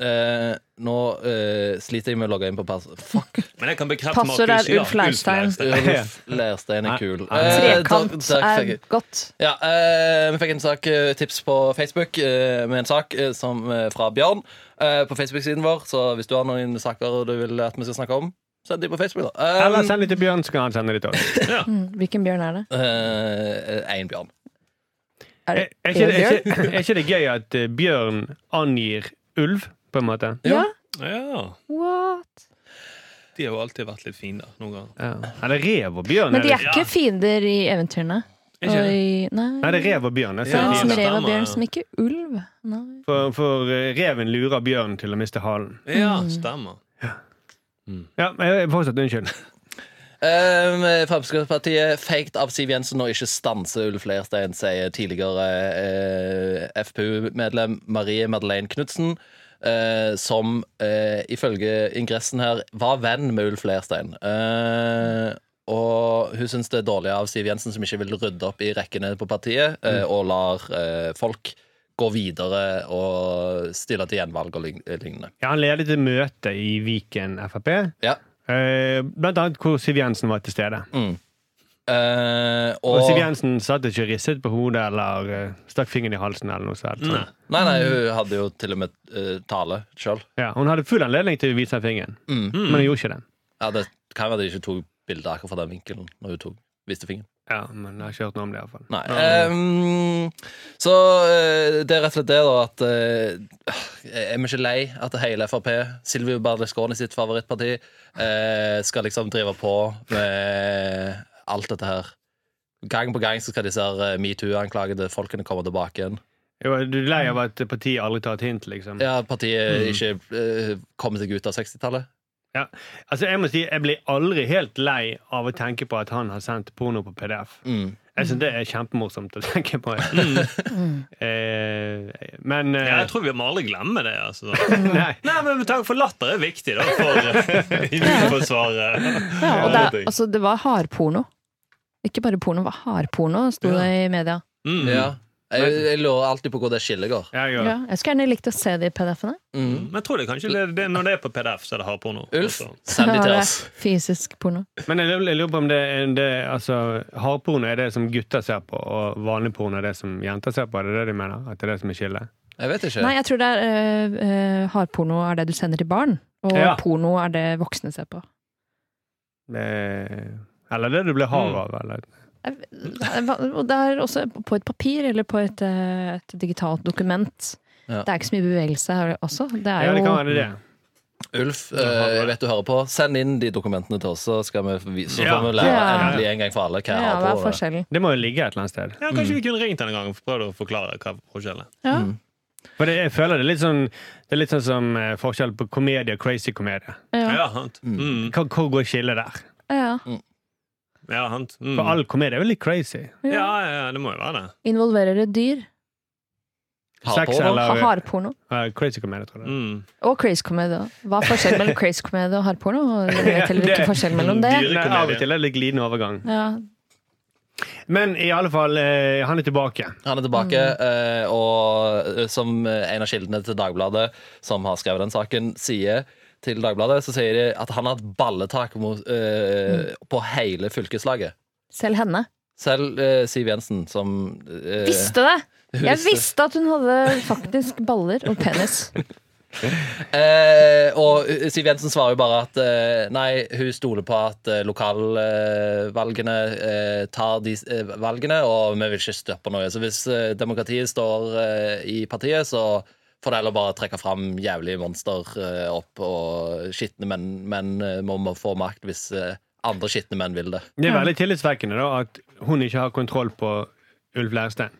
S6: eh, nå eh, sliter jeg med å logge inn på pass... Fuck.
S2: Men jeg kan bekrefte
S4: Passord
S2: Markus,
S4: er
S2: ja,
S4: Ulf Leirstein.
S6: Ulf Leirstein er kul. Eh,
S4: Trekant
S6: takk- takk,
S4: er
S6: takk.
S4: godt.
S6: Ja, eh, Vi fikk en sak, eh, tips på Facebook eh, med en sak eh, som, eh, fra Bjørn eh, på Facebook-siden vår. Så hvis du har noen saker du vil at vi skal snakke om, send de på Facebook. da Eh,
S3: Eller send det til Bjørn, så kan han sende det til oss.
S4: Mm, Hvilken bjørn er det?
S6: eh, en Bjørn.
S4: Er
S3: Er,
S4: det
S3: er, ikke,
S4: en
S3: det- er,
S4: bjørn?
S3: ikke, er ikke det gøy at eh, Bjørn angir ulv, på en måte?
S4: Ja,
S2: Ja,
S4: what?
S2: De har jo alltid vært litt fine da, noen ganger.
S3: Ja. Eller rev og bjørn?
S4: Men de er
S3: det-
S4: ikke fiender i eventyrene.
S2: Ikke
S4: Og
S2: det?
S4: i, nei.
S3: Nei, det er rev og bjørn. Det er
S4: Samme
S2: Ja,
S4: som
S2: det
S3: fiender.
S4: rev
S2: stemmer,
S4: og bjørn,
S2: ja.
S4: som ikke ulv. Nei.
S3: for, for eh, reven lurer bjørnen til å miste halen.
S2: Ja,
S4: Mm.
S2: stemmer.
S3: Ja, men jeg- fortsatt unnskyld.
S6: Eh, Fremskrittspartiet faked av Siv Jensen og ikke stanse Ulf Leirstein, sier tidligere eh, FPU-medlem Marie Madeleine Knutsen. eh, som eh, ifølge ingressen her var venn med Ulf Leirstein. Eh, og hun syns det er dårlig av Siv Jensen, som ikke vil rydde opp i rekkene på partiet, eh,
S3: Mm.
S6: og lar eh, folk gå videre og stille til gjenvalg og lign- lignende.
S3: Ja, han ledet et møte i Viken Frp,
S6: Ja.
S3: eh, blant annet hvor Siv Jensen var til stede.
S6: Eh,
S3: Og Siv Jensen satt ikke og ristet på hodet eller eh, stakk fingeren i halsen. eller noe sånt.
S2: Nei.
S6: Nei, nei, hun hadde jo til og med eh, tale sjøl.
S3: Ja, hun hadde full anledning til å vise den fingeren, men hun gjorde ikke det.
S6: Ja, det kan være de ikke tok bilde akkurat fra den vinkelen når hun tok, viste fingeren.
S3: Ja, men jeg har ikke hørt noe om det. i hvert fall.
S6: Nei. ehm, så eh, det er rett og slett det, da, at eh, Er vi ikke lei at hele Frp, Silvio Berlusconi sitt favorittparti, eh, skal liksom drive på med alt dette her? Gang på gang så skal disse her, eh, metoo-anklagede folkene komme tilbake igjen.
S3: Jeg var- Du er lei av at partiet aldri tar et hint, liksom.
S6: Ja, partiet ikke eh, kommer seg ut av 60-tallet.
S3: Ja. Altså, jeg må si, jeg blir aldri helt lei av å tenke på at han har sendt porno på PDF.
S6: Mm.
S3: Jeg synes det er kjempemorsomt å tenke på. Eh, men eh,
S2: Ja, jeg tror vi må aldri glemme det. Altså.
S3: Nei.
S2: Nei, men takk for latter er viktig, da, for immunforsvaret.
S4: Ja, og det,
S2: Andre
S4: er-
S2: ting.
S4: altså, det var hardporno. Ikke bare porno, det var hardporno, sto det i media.
S2: Mm.
S6: Ja. Jeg, jeg lurer alltid på hvor det skillet går.
S3: Ja, jeg gjør det.
S4: Ja, jeg skulle gjerne likt å se de PDF-ene.
S6: Mm.
S2: Men jeg tror det kanskje det, det, når det er på PDF, så er det hardporno.
S6: Ulf,
S2: Altså.
S6: send de
S4: Da
S6: til
S4: var
S6: oss.
S4: det Fysisk porno.
S3: Men jeg, jeg lurer på om det, er- det er- altså, Hardporno er det som gutter ser på, og vanlig porno er det som jenter ser på. Er det det de mener? At det er det som er skillet?
S6: Jeg vet ikke.
S4: Nei, jeg tror det er øh, øh, hardporno er det du sender til barn, og
S3: Ja.
S4: porno er det voksne ser på.
S3: Eh, eller det du blir hard av? Eller?
S4: Jeg- hva- Og det er også på et papir eller på et, øh, et digitalt dokument.
S6: Ja.
S4: Det er ikke så mye bevegelse her også. Det er
S3: Ja, det
S4: jo
S3: kan være det.
S6: Ulf, eh, jeg vet du hører på. Send inn de dokumentene til oss, så, skal vi, vi- så
S3: Ja.
S6: får vi lære
S4: Ja, ja, ja.
S6: endelig en gang for alle hva jeg
S4: ja, hva
S6: har
S4: er
S6: på.
S4: forskjellen?
S3: Det må jo ligge et eller annet sted.
S2: Ja, kanskje vi kunne ringt denne gangen og prøvd å forklare hva forskjellen er.
S4: Ja.
S6: Mm.
S3: For det, jeg føler det er litt sånn Det er litt sånn som eh, forskjell på komedie og crazy komedie.
S4: Ja.
S2: Ja, sant. Mm.
S3: Hva, hvor går skillet der?
S4: Ja.
S2: Ja, sant. Mm.
S3: For all komedie er jo litt crazy.
S2: Ja, ja, ja, det må jo være det.
S4: Involverer det dyr?
S6: Har på
S3: Sex
S6: da.
S3: eller-
S4: Ha- Hardporno?
S3: Eh, crazy komedie, tror jeg.
S2: Mm.
S4: Og crazy comedy. da. Hva er forskjellen mellom crazy comedy og hardporno? Og dere vet heller ikke forskjellen mellom det.
S2: dyre
S3: Nei, av og
S2: komedie.
S3: til er det litt glidende overgang.
S4: Ja.
S3: Men i alle fall, eh, han er tilbake.
S6: Han er tilbake,
S4: Mm.
S6: eh, og eh, som eh, en av kildene til Dagbladet, som har skrevet den saken, sier til Dagbladet, så sier de at han har hatt balletak mot,
S4: Mm.
S6: eh, på hele fylkeslaget.
S4: Selv henne.
S6: Selv eh, Siv Jensen, som eh,
S4: Visste det!
S6: hun
S4: Jeg
S6: visste-
S4: visste at hun hadde faktisk baller og penis.
S6: Eh, og Siv Jensen svarer jo bare at eh, nei, hun stoler på at eh, lokalvalgene eh, tar de eh, valgene, og vi vil ikke stoppe noe. Så hvis eh, demokratiet står eh, i partiet, så får det heller bare trekke fram jævlige monster eh, opp, og skitne menn, menn eh, må, må få makt hvis eh, andre skitne menn vil det.
S3: Det er veldig tillitsvekkende da at hun ikke har kontroll på Ulf Leirstein.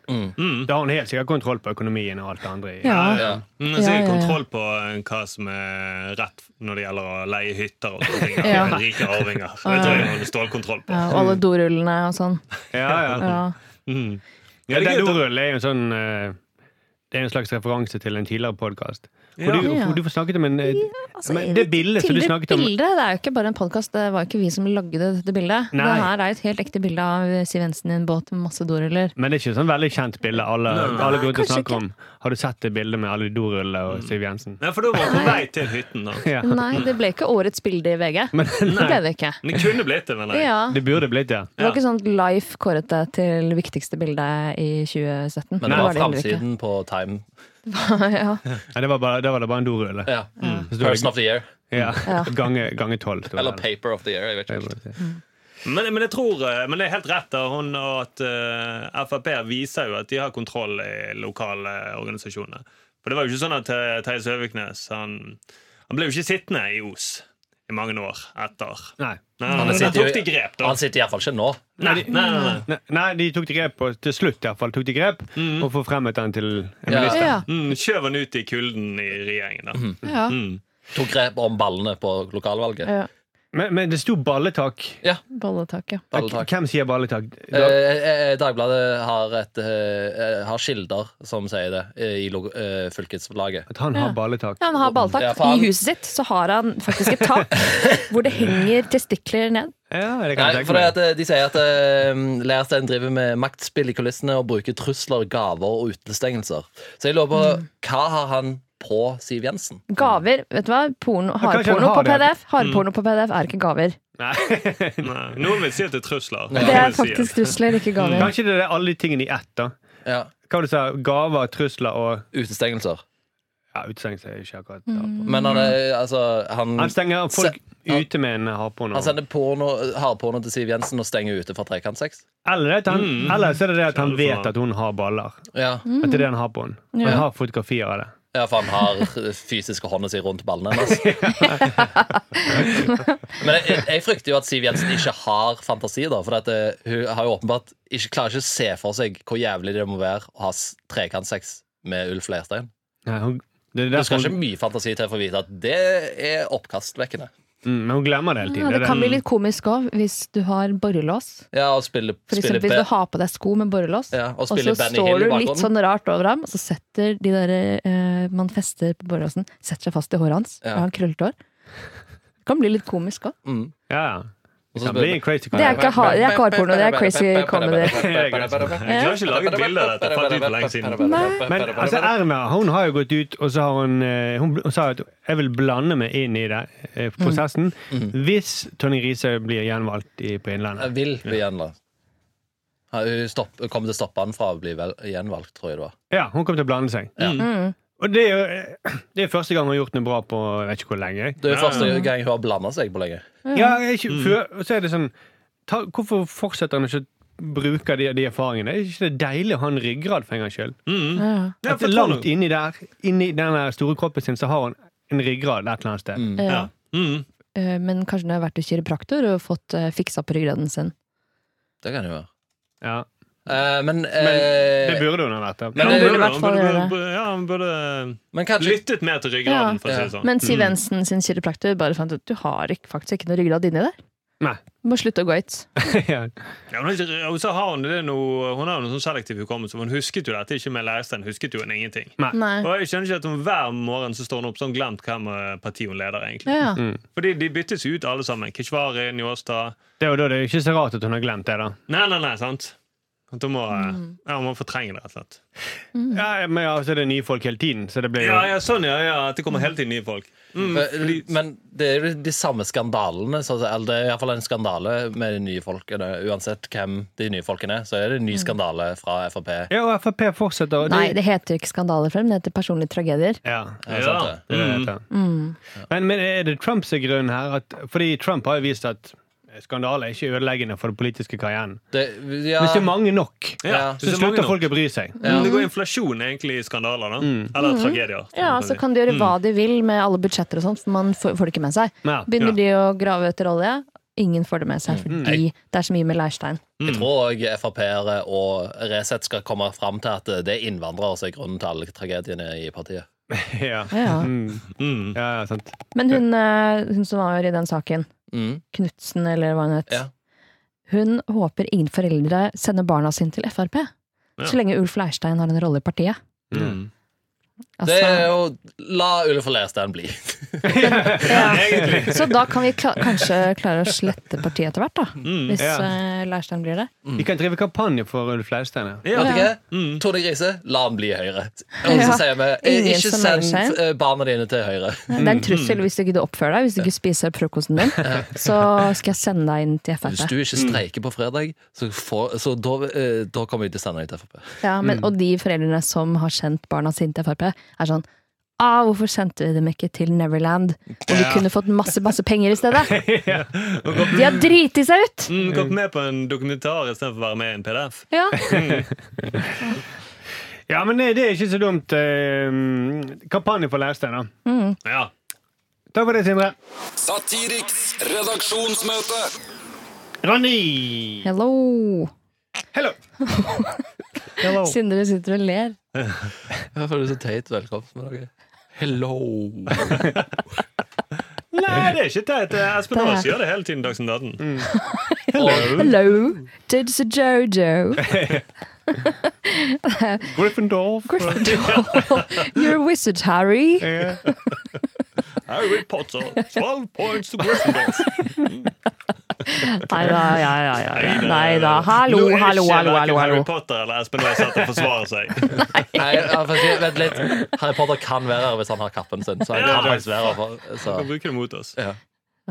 S3: Da har hun helt sikkert kontroll på økonomien og alt det andre. i-
S4: Ja.
S6: Ja.
S2: Mm,
S4: Ja, ja,
S2: så er
S4: ja.
S2: det kontroll på eh, hva som er rett når det gjelder å leie hytter og sånne ting. da.
S4: Ja.
S2: Rike arvinger. Så det tror jeg hun har stålkontroll på.
S4: Ja, og alle dorullene og sånn.
S3: Ja, ja.
S4: Ja.
S2: Mm.
S3: Ja,
S2: Ja, det
S3: det
S2: er gøy, da.
S3: Dorull er jo en sånn eh, Det er en slags referanse til en tidligere podkast Hvor du,
S4: Ja.
S3: hvor du får snakket om en eh,
S4: Altså,
S3: men Det bildet som du
S4: Tilde
S3: snakket om
S4: Bildet, det er jo ikke bare en podkast, det var jo ikke vi som lagde dette bildet.
S3: Nei.
S4: Det her er et helt ekte bilde av Siv Jensen i en båt med masse doruller.
S3: Men det er ikke sånn veldig kjent bilde alle, alle går rundt og
S4: Kanskje
S3: snakker om. Har du sett det bildet med alle de dorullene og Siv Jensen?
S2: Ja, for da var man på vei til hytten. da.
S3: Ja.
S4: Nei, det ble ikke årets bilde i VG. Det ble det ikke.
S2: Men det kunne blitt det, mener jeg.
S4: Ja.
S3: Det burde blitt det.
S4: Det var ikke sånn at Life kåret det til viktigste bildet i 2017.
S6: Men det var
S4: heller ikke.
S6: framsiden på Time.
S4: ja.
S3: Nei, det var bare, da var det bare en dorulle.
S6: Ja.
S3: Så det var-
S6: Mm. Person of the year.
S3: Ja.
S4: Ja. Mm.
S3: Gange gange tolv. tror jeg.
S6: Eller Paper of the year. Jeg vet ikke.
S2: Men, men jeg tror, eh, men det er helt rett da, hun og at eh, Frp viser jo at de har kontroll i lokale organisasjoner. For det var jo ikke sånn at eh, Terje Søviknes han, han ble jo ikke sittende i Os i mange år etter.
S3: Nei.
S2: Nei,
S6: Han
S2: han,
S6: sitter jo-
S2: tok de grep, da.
S6: Han sitter iallfall ikke nå.
S2: Nei, nei, nei, nei.
S3: Nei, Nei, de tok de grep på, til slutt i hvert fall, tok de grep og forfremmet den til en
S6: Mhm. Ja.
S3: minister.
S4: Ja.
S2: Mm, kjøv han ut i kulden i regjeringen, da.
S4: Ja.
S6: Tok grep om ballene på lokalvalget.
S4: ja.
S3: Men, men det sto balletak.
S4: Bolletak, ja.
S6: Balletak.
S3: Hvem sier balletak?
S6: Eh,
S3: Da-
S6: eh, Dagbladet har, et, eh, eh, har kilder som sier det, eh, i lo- eh, fylkeslaget.
S3: At han har balletak.
S4: Ja, han har balltak.
S6: Ja, faen.
S4: I huset sitt så har han faktisk et tak hvor det henger testikler ned.
S3: Ja, det kan
S6: Nei,
S3: jeg
S6: for
S3: tenke meg.
S6: det at eh, De sier at eh, Leirstein driver med maktspill i kulissene og bruker trusler, gaver og utestengelser. Så jeg lurer på, hva har han på Siv Jensen?
S4: Gaver. vet du hva? Porno,
S3: kanskje han
S4: Hardporno
S3: har
S4: på
S3: det.
S4: PDF Hardporno på PDF er ikke gaver.
S3: Nei.
S2: Nei. Noen vil si at det er trusler.
S4: Det
S2: Noen
S4: er
S2: vil si altså. at-
S4: faktisk trusler, ikke gaver.
S3: Kanskje det er alle de tingene i ett, da.
S6: Ja,
S3: Hva var det du sa? Gaver, trusler og
S6: Utestengelser.
S3: Ja, utestengelse er jo ikke akkurat ja.
S4: Mm.
S6: Men han er, altså Han,
S3: Mm. Han stenger folk
S6: Mm. Se-
S3: ute med en harpone.
S6: han sender porno, hardporno til Siv Jensen og stenger ute fra trekantsex.
S3: Eller, at han,
S6: Mm.
S3: eller så er det det at han
S2: Kjærlig for
S3: vet
S2: han.
S3: at hun har baller.
S6: Ja.
S3: At det er det han har på henne. Og
S4: Mm. Ja.
S3: Han har fotografier av det.
S6: ja, for han har fysiske hånda si rundt ballene hennes. Men jeg, jeg frykter jo at Siv Jensen ikke har fantasi, da. For at, eh, hun har jo åpenbart ikke, klarer ikke å se for seg hvor jævlig det må være å ha s- trekantsex med Ulf Leirstein.
S3: Nei, hun, det er
S6: Du
S3: derfor
S6: skal ikke
S3: hun,
S6: mye fantasi til for å vite at det er oppkastvekkende.
S3: mm, men hun glemmer det hele tiden.
S4: Ja, det
S3: er
S4: kan bli litt komisk òg, hvis du har borrelås.
S6: Ja, å spille,
S4: For
S6: spille
S4: eksempel hvis du har på deg sko med borrelås,
S6: ja, og
S4: og
S6: spille
S4: så
S6: Benny Hill
S4: står
S6: i
S4: du litt
S6: bakgrunnen.
S4: sånn rart over ham, og så setter de der eh, man fester på borrelåsen, setter seg fast i håret hans.
S6: Ja.
S4: Og han krøllete hår. Det kan bli litt komisk òg.
S6: Mm.
S3: Ja, ja.
S6: Og
S3: Det
S6: så
S3: kan
S6: spiller-
S3: bli en crazy
S4: Det er ikke har- det er ikke hardporno, det er crazy comedy. Eh,
S3: Jeg
S2: klarer ikke å lage et bilde av dette, jeg fant ut for lenge siden.
S4: Nei.
S3: Men altså, Erna hun har jo gått ut, og så har hun, eh, hun, bl- hun sa at jeg vil blande meg inn i det, eh, prosessen hvis Tonje Riise blir gjenvalgt i, på
S6: Jeg
S3: Innlandet.
S6: vil bli gjenvalgt. Ja, Hun stopp, hun kommer til å stoppe han fra å bli vel, gjenvalgt, tror jeg det var.
S3: Ja, hun kommer til å blande seg.
S6: Ja.
S4: Mm,
S3: Og det er jo eh, det er første gang hun har gjort noe bra på jeg vet ikke hvor lenge.
S6: Det er jo
S2: Ja,
S6: første gang hun har blanda seg på lenge.
S3: Ja, jeg er ikke, før, og så er det sånn ta, Hvorfor fortsetter han ikke å bruke de, de erfaringene? Er ikke det deilig å ha en ryggrad for en gangs skyld?
S2: Mm.
S4: Ja.
S2: Ja,
S3: At
S2: for tror
S3: langt
S2: du-
S3: inni der, inni den der store kroppen sin, så har han en ryggrad et eller annet sted.
S6: Mm.
S4: Ja.
S2: Ja. Mm.
S4: Eh, Men kanskje den har vært hos kiropraktor og fått eh, fiksa på ryggraden sin.
S6: Det kan hun gjøre.
S3: Ja.
S6: Eh, men,
S3: Det
S6: eh,
S3: burde hun ha vært.
S6: Men
S3: Ja.
S4: burde i
S6: det
S2: Ja, han burde-
S4: hvert
S2: han
S4: fall
S2: burde-
S4: gjøre.
S2: burde- Ja, han burde
S6: men kanskje
S2: lyttet mer til ryggraden,
S4: Ja.
S2: for å si det sånn.
S4: Men Siv Jensen sin kiropraktor bare fant ut du har ikke, faktisk ikke noe ryggrad inni der.
S3: Nei.
S4: Du må slutte å gå ut.
S3: Ja.
S2: Ja, men ikke- og så har hun det noe, hun har jo noe sånn selektiv hukommelse. for Hun husket jo dette, ikke med Leirstein. Husket jo en ingenting.
S4: Nei.
S2: Og jeg skjønner ikke at hun Hver morgen så står hun opp så har hun glemt hvem eh, parti hun leder. egentlig.
S4: Ja, ja.
S2: Fordi de byttes jo ut alle sammen. Keshvari, Njåstad
S3: Det er jo da det er ikke så rart at hun har glemt det, da.
S2: Nei, nei, nei, sant? At Hun må,
S4: Mm.
S2: eh, ja, hun må fortrenge det, rett og slett.
S3: Ja, men ja, så er det nye folk hele tiden, så det blir jo
S2: Ja, ja, sånn, ja, ja, At det kommer hele tiden nye folk. Mm, fordi,
S6: Men det er jo de samme skandalene. Så, eller det er iallfall en skandale med de nye folkene. Uansett hvem de nye folkene er, så er det en
S4: Mm.
S6: ny skandale fra Frp.
S3: Ja, og Frp fortsetter. og
S4: Nei, det heter jo ikke skandaler for dem, det heter personlige tragedier.
S3: Ja,
S6: Er det Eh, sant, det?
S3: det er det det
S2: Mm.
S3: heter.
S4: Mm.
S3: Men, men er det Trumps grunn her? At, fordi Trump har jo vist at skandaler er ikke ødeleggende for den politiske karrieren.
S6: Det- ja,
S3: Hvis det er mange nok,
S2: Ja,
S3: så
S2: hvis det er mange
S3: slutter
S2: nok.
S3: folk å bry seg.
S2: Mm, Det går inflasjon egentlig i skandaler, da. Eller tragedier. som
S4: Mm. Ja,
S2: man
S4: så
S2: si.
S4: kan de gjøre hva de vil med alle budsjetter og sånt, for man får, får det ikke med seg.
S3: Ja,
S4: Begynner
S2: ja.
S4: de å grave etter olje? Ingen får det med seg, fordi det er så mye med leirstein.
S3: Mm.
S6: Jeg tror òg Frp-ere og Resett skal komme fram til at det er innvandrere som er grunnen til alle tragediene i partiet.
S3: Ja.
S4: Ja.
S3: Mm.
S2: Mm.
S3: ja, ja, sant.
S4: Men hun, eh, hun som var i den saken,
S6: Mm.
S4: Knutsen eller hva hun het,
S6: Ja.
S4: hun håper ingen foreldre sender barna sine til Frp.
S2: Ja.
S4: Så lenge Ulf Leirstein har en rolle i partiet.
S2: Mm.
S6: Det er
S4: Altså,
S6: jo La Ulle for Lerstein bli.
S2: Egentlig.
S4: så da kan vi kla kanskje klare å slette partiet etter hvert, da. hvis
S3: ja.
S4: eh, Leirstein blir det.
S3: De kan drive kampanje for Ulf Leirstein. ja. Mm.
S6: Vet
S2: Mm.
S6: du
S2: Ja.
S6: hva? Tone Grise, la han bli Høyre. Og så
S4: Ja.
S6: sier vi
S4: Ingen
S6: eh, ikke
S4: som melder
S6: send
S4: seg inn.
S6: eh, barna dine til Høyre.
S4: Det
S2: Mm.
S4: er en trussel hvis du ikke oppfører deg, hvis du ikke spiser frokosten din. Så skal jeg sende deg inn til
S6: Hvis du
S4: Frp.
S6: ikke streiker på fredag, så, får, så da, eh, da kommer vi til å sende deg til Frp.
S4: Ja,
S2: Mm.
S4: men, og de foreldrene som har sendt barna sine til Frp, er sånn Ah, hvorfor sendte vi dem ikke til Neverland? Og de kunne fått masse masse penger i stedet! De har driti seg ut!
S2: Mm, Gått med på en dokumentar istedenfor å være med i en PDF.
S4: Ja.
S2: Mm.
S3: Ja, men det det er ikke så dumt. eh, Kampanje for Leirstein, da.
S4: Mm.
S2: Ja.
S3: Takk for det, Sindre.
S5: Satiriks redaksjonsmøte.
S3: Ronny!
S4: Hello!
S3: Hello! Hello.
S4: Sindre sitter og ler.
S6: Jeg føler det så teit velkomst med dere. Hello!
S2: Nei, det er ikke teit.
S3: altså,
S2: Espen
S4: Det er-
S2: Aas gjør det hele tiden. Dagsnytt 18.
S4: Hello, Dudse Jojo.
S3: Gryffindor.
S4: Gryffindor. You're a wizard, Harry.
S3: Eh,
S2: Harry Potter, 12 points to Gryffindor.
S4: Nei da, ja, ja, ja, ja. Nei da. Hallo,
S2: Nå
S4: hallo,
S2: er ikke
S4: hallo.
S2: hverken
S4: hallo, hallo.
S2: Harry Potter eller Espen Aas her til å forsvare seg.
S6: Nei, ja, faktisk, vent litt. Harry Potter kan være her hvis han har kappen sin. Så han
S2: Ja.
S6: kan faktisk være her for, så.
S2: Kan bruke det mot oss.
S6: Ja.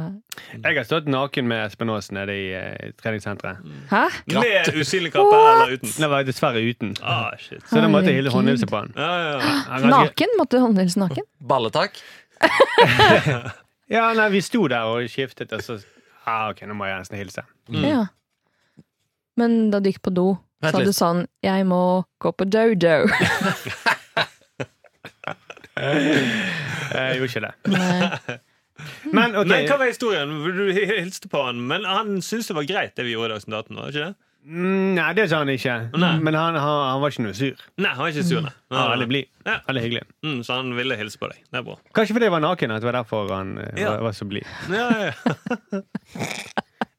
S3: Jeg har stått naken med Espen Aas nede i eh, treningssenteret.
S4: Hæ?
S2: Med usynlig kappe eller uten.
S3: Det var jeg dessverre uten.
S2: Ah, shit.
S3: Så da måtte jeg hilde
S4: Herregud.
S3: håndhilse på han.
S2: Ja, ja, ja.
S4: Ah,
S3: Han ganske-
S4: Naken? Måtte du håndhilse naken?
S6: Balletak.
S3: Ja, nei, vi sto der og skiftet, og så ah, Ok, nå må jeg nesten hilse.
S4: Ja. Men da du gikk på do,
S6: Vent
S4: sa du
S6: litt.
S4: sånn 'Jeg må gå på dodo'.
S3: Jeg gjorde ikke det.
S4: Nei.
S3: Men ok,
S2: Men hva var historien? Du hilste på han, men han syntes det var greit, det vi gjorde i Dagsnytt 18? var det ikke det?
S3: Mm, nei, Ah. det sa han ikke.
S2: Nei.
S3: Men han, han, han var ikke noe sur.
S2: Nei, han var ikke
S4: Mm.
S2: sur, nei.
S4: Ah,
S2: Nei,
S3: Han var
S2: nei,
S3: veldig
S2: nei.
S3: blid.
S2: Ja.
S3: Veldig hyggelig.
S2: Mm, så han ville hilse på deg. Det er bra.
S3: Kanskje fordi jeg var naken, at det var derfor han eh,
S2: Ja.
S3: var, var så blid.
S2: Ja, ja, ja.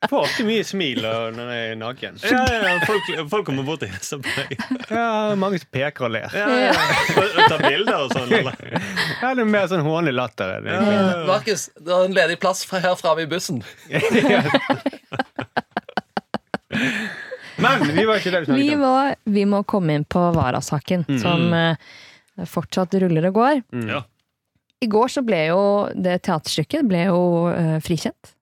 S3: Jeg får ofte mye smil og- når jeg er naken.
S2: ja, ja, ja. Folk, folk kommer bort og hilser på deg.
S3: Ja, mange som peker og ler.
S2: Ja, ja. Og, og tar bilder og sånn. Eller?
S3: Ja, det er mer sånn hånlig latter. er det egentlig.
S6: Markus, det er en ledig plass fra her framme i bussen.
S3: Men vi var ikke det vi
S4: Vi
S3: snakket om.
S4: må, vi må komme inn på Vara-saken, som eh, fortsatt ruller og går.
S2: Ja.
S4: I går så ble jo det teaterstykket ble jo eh, frikjent.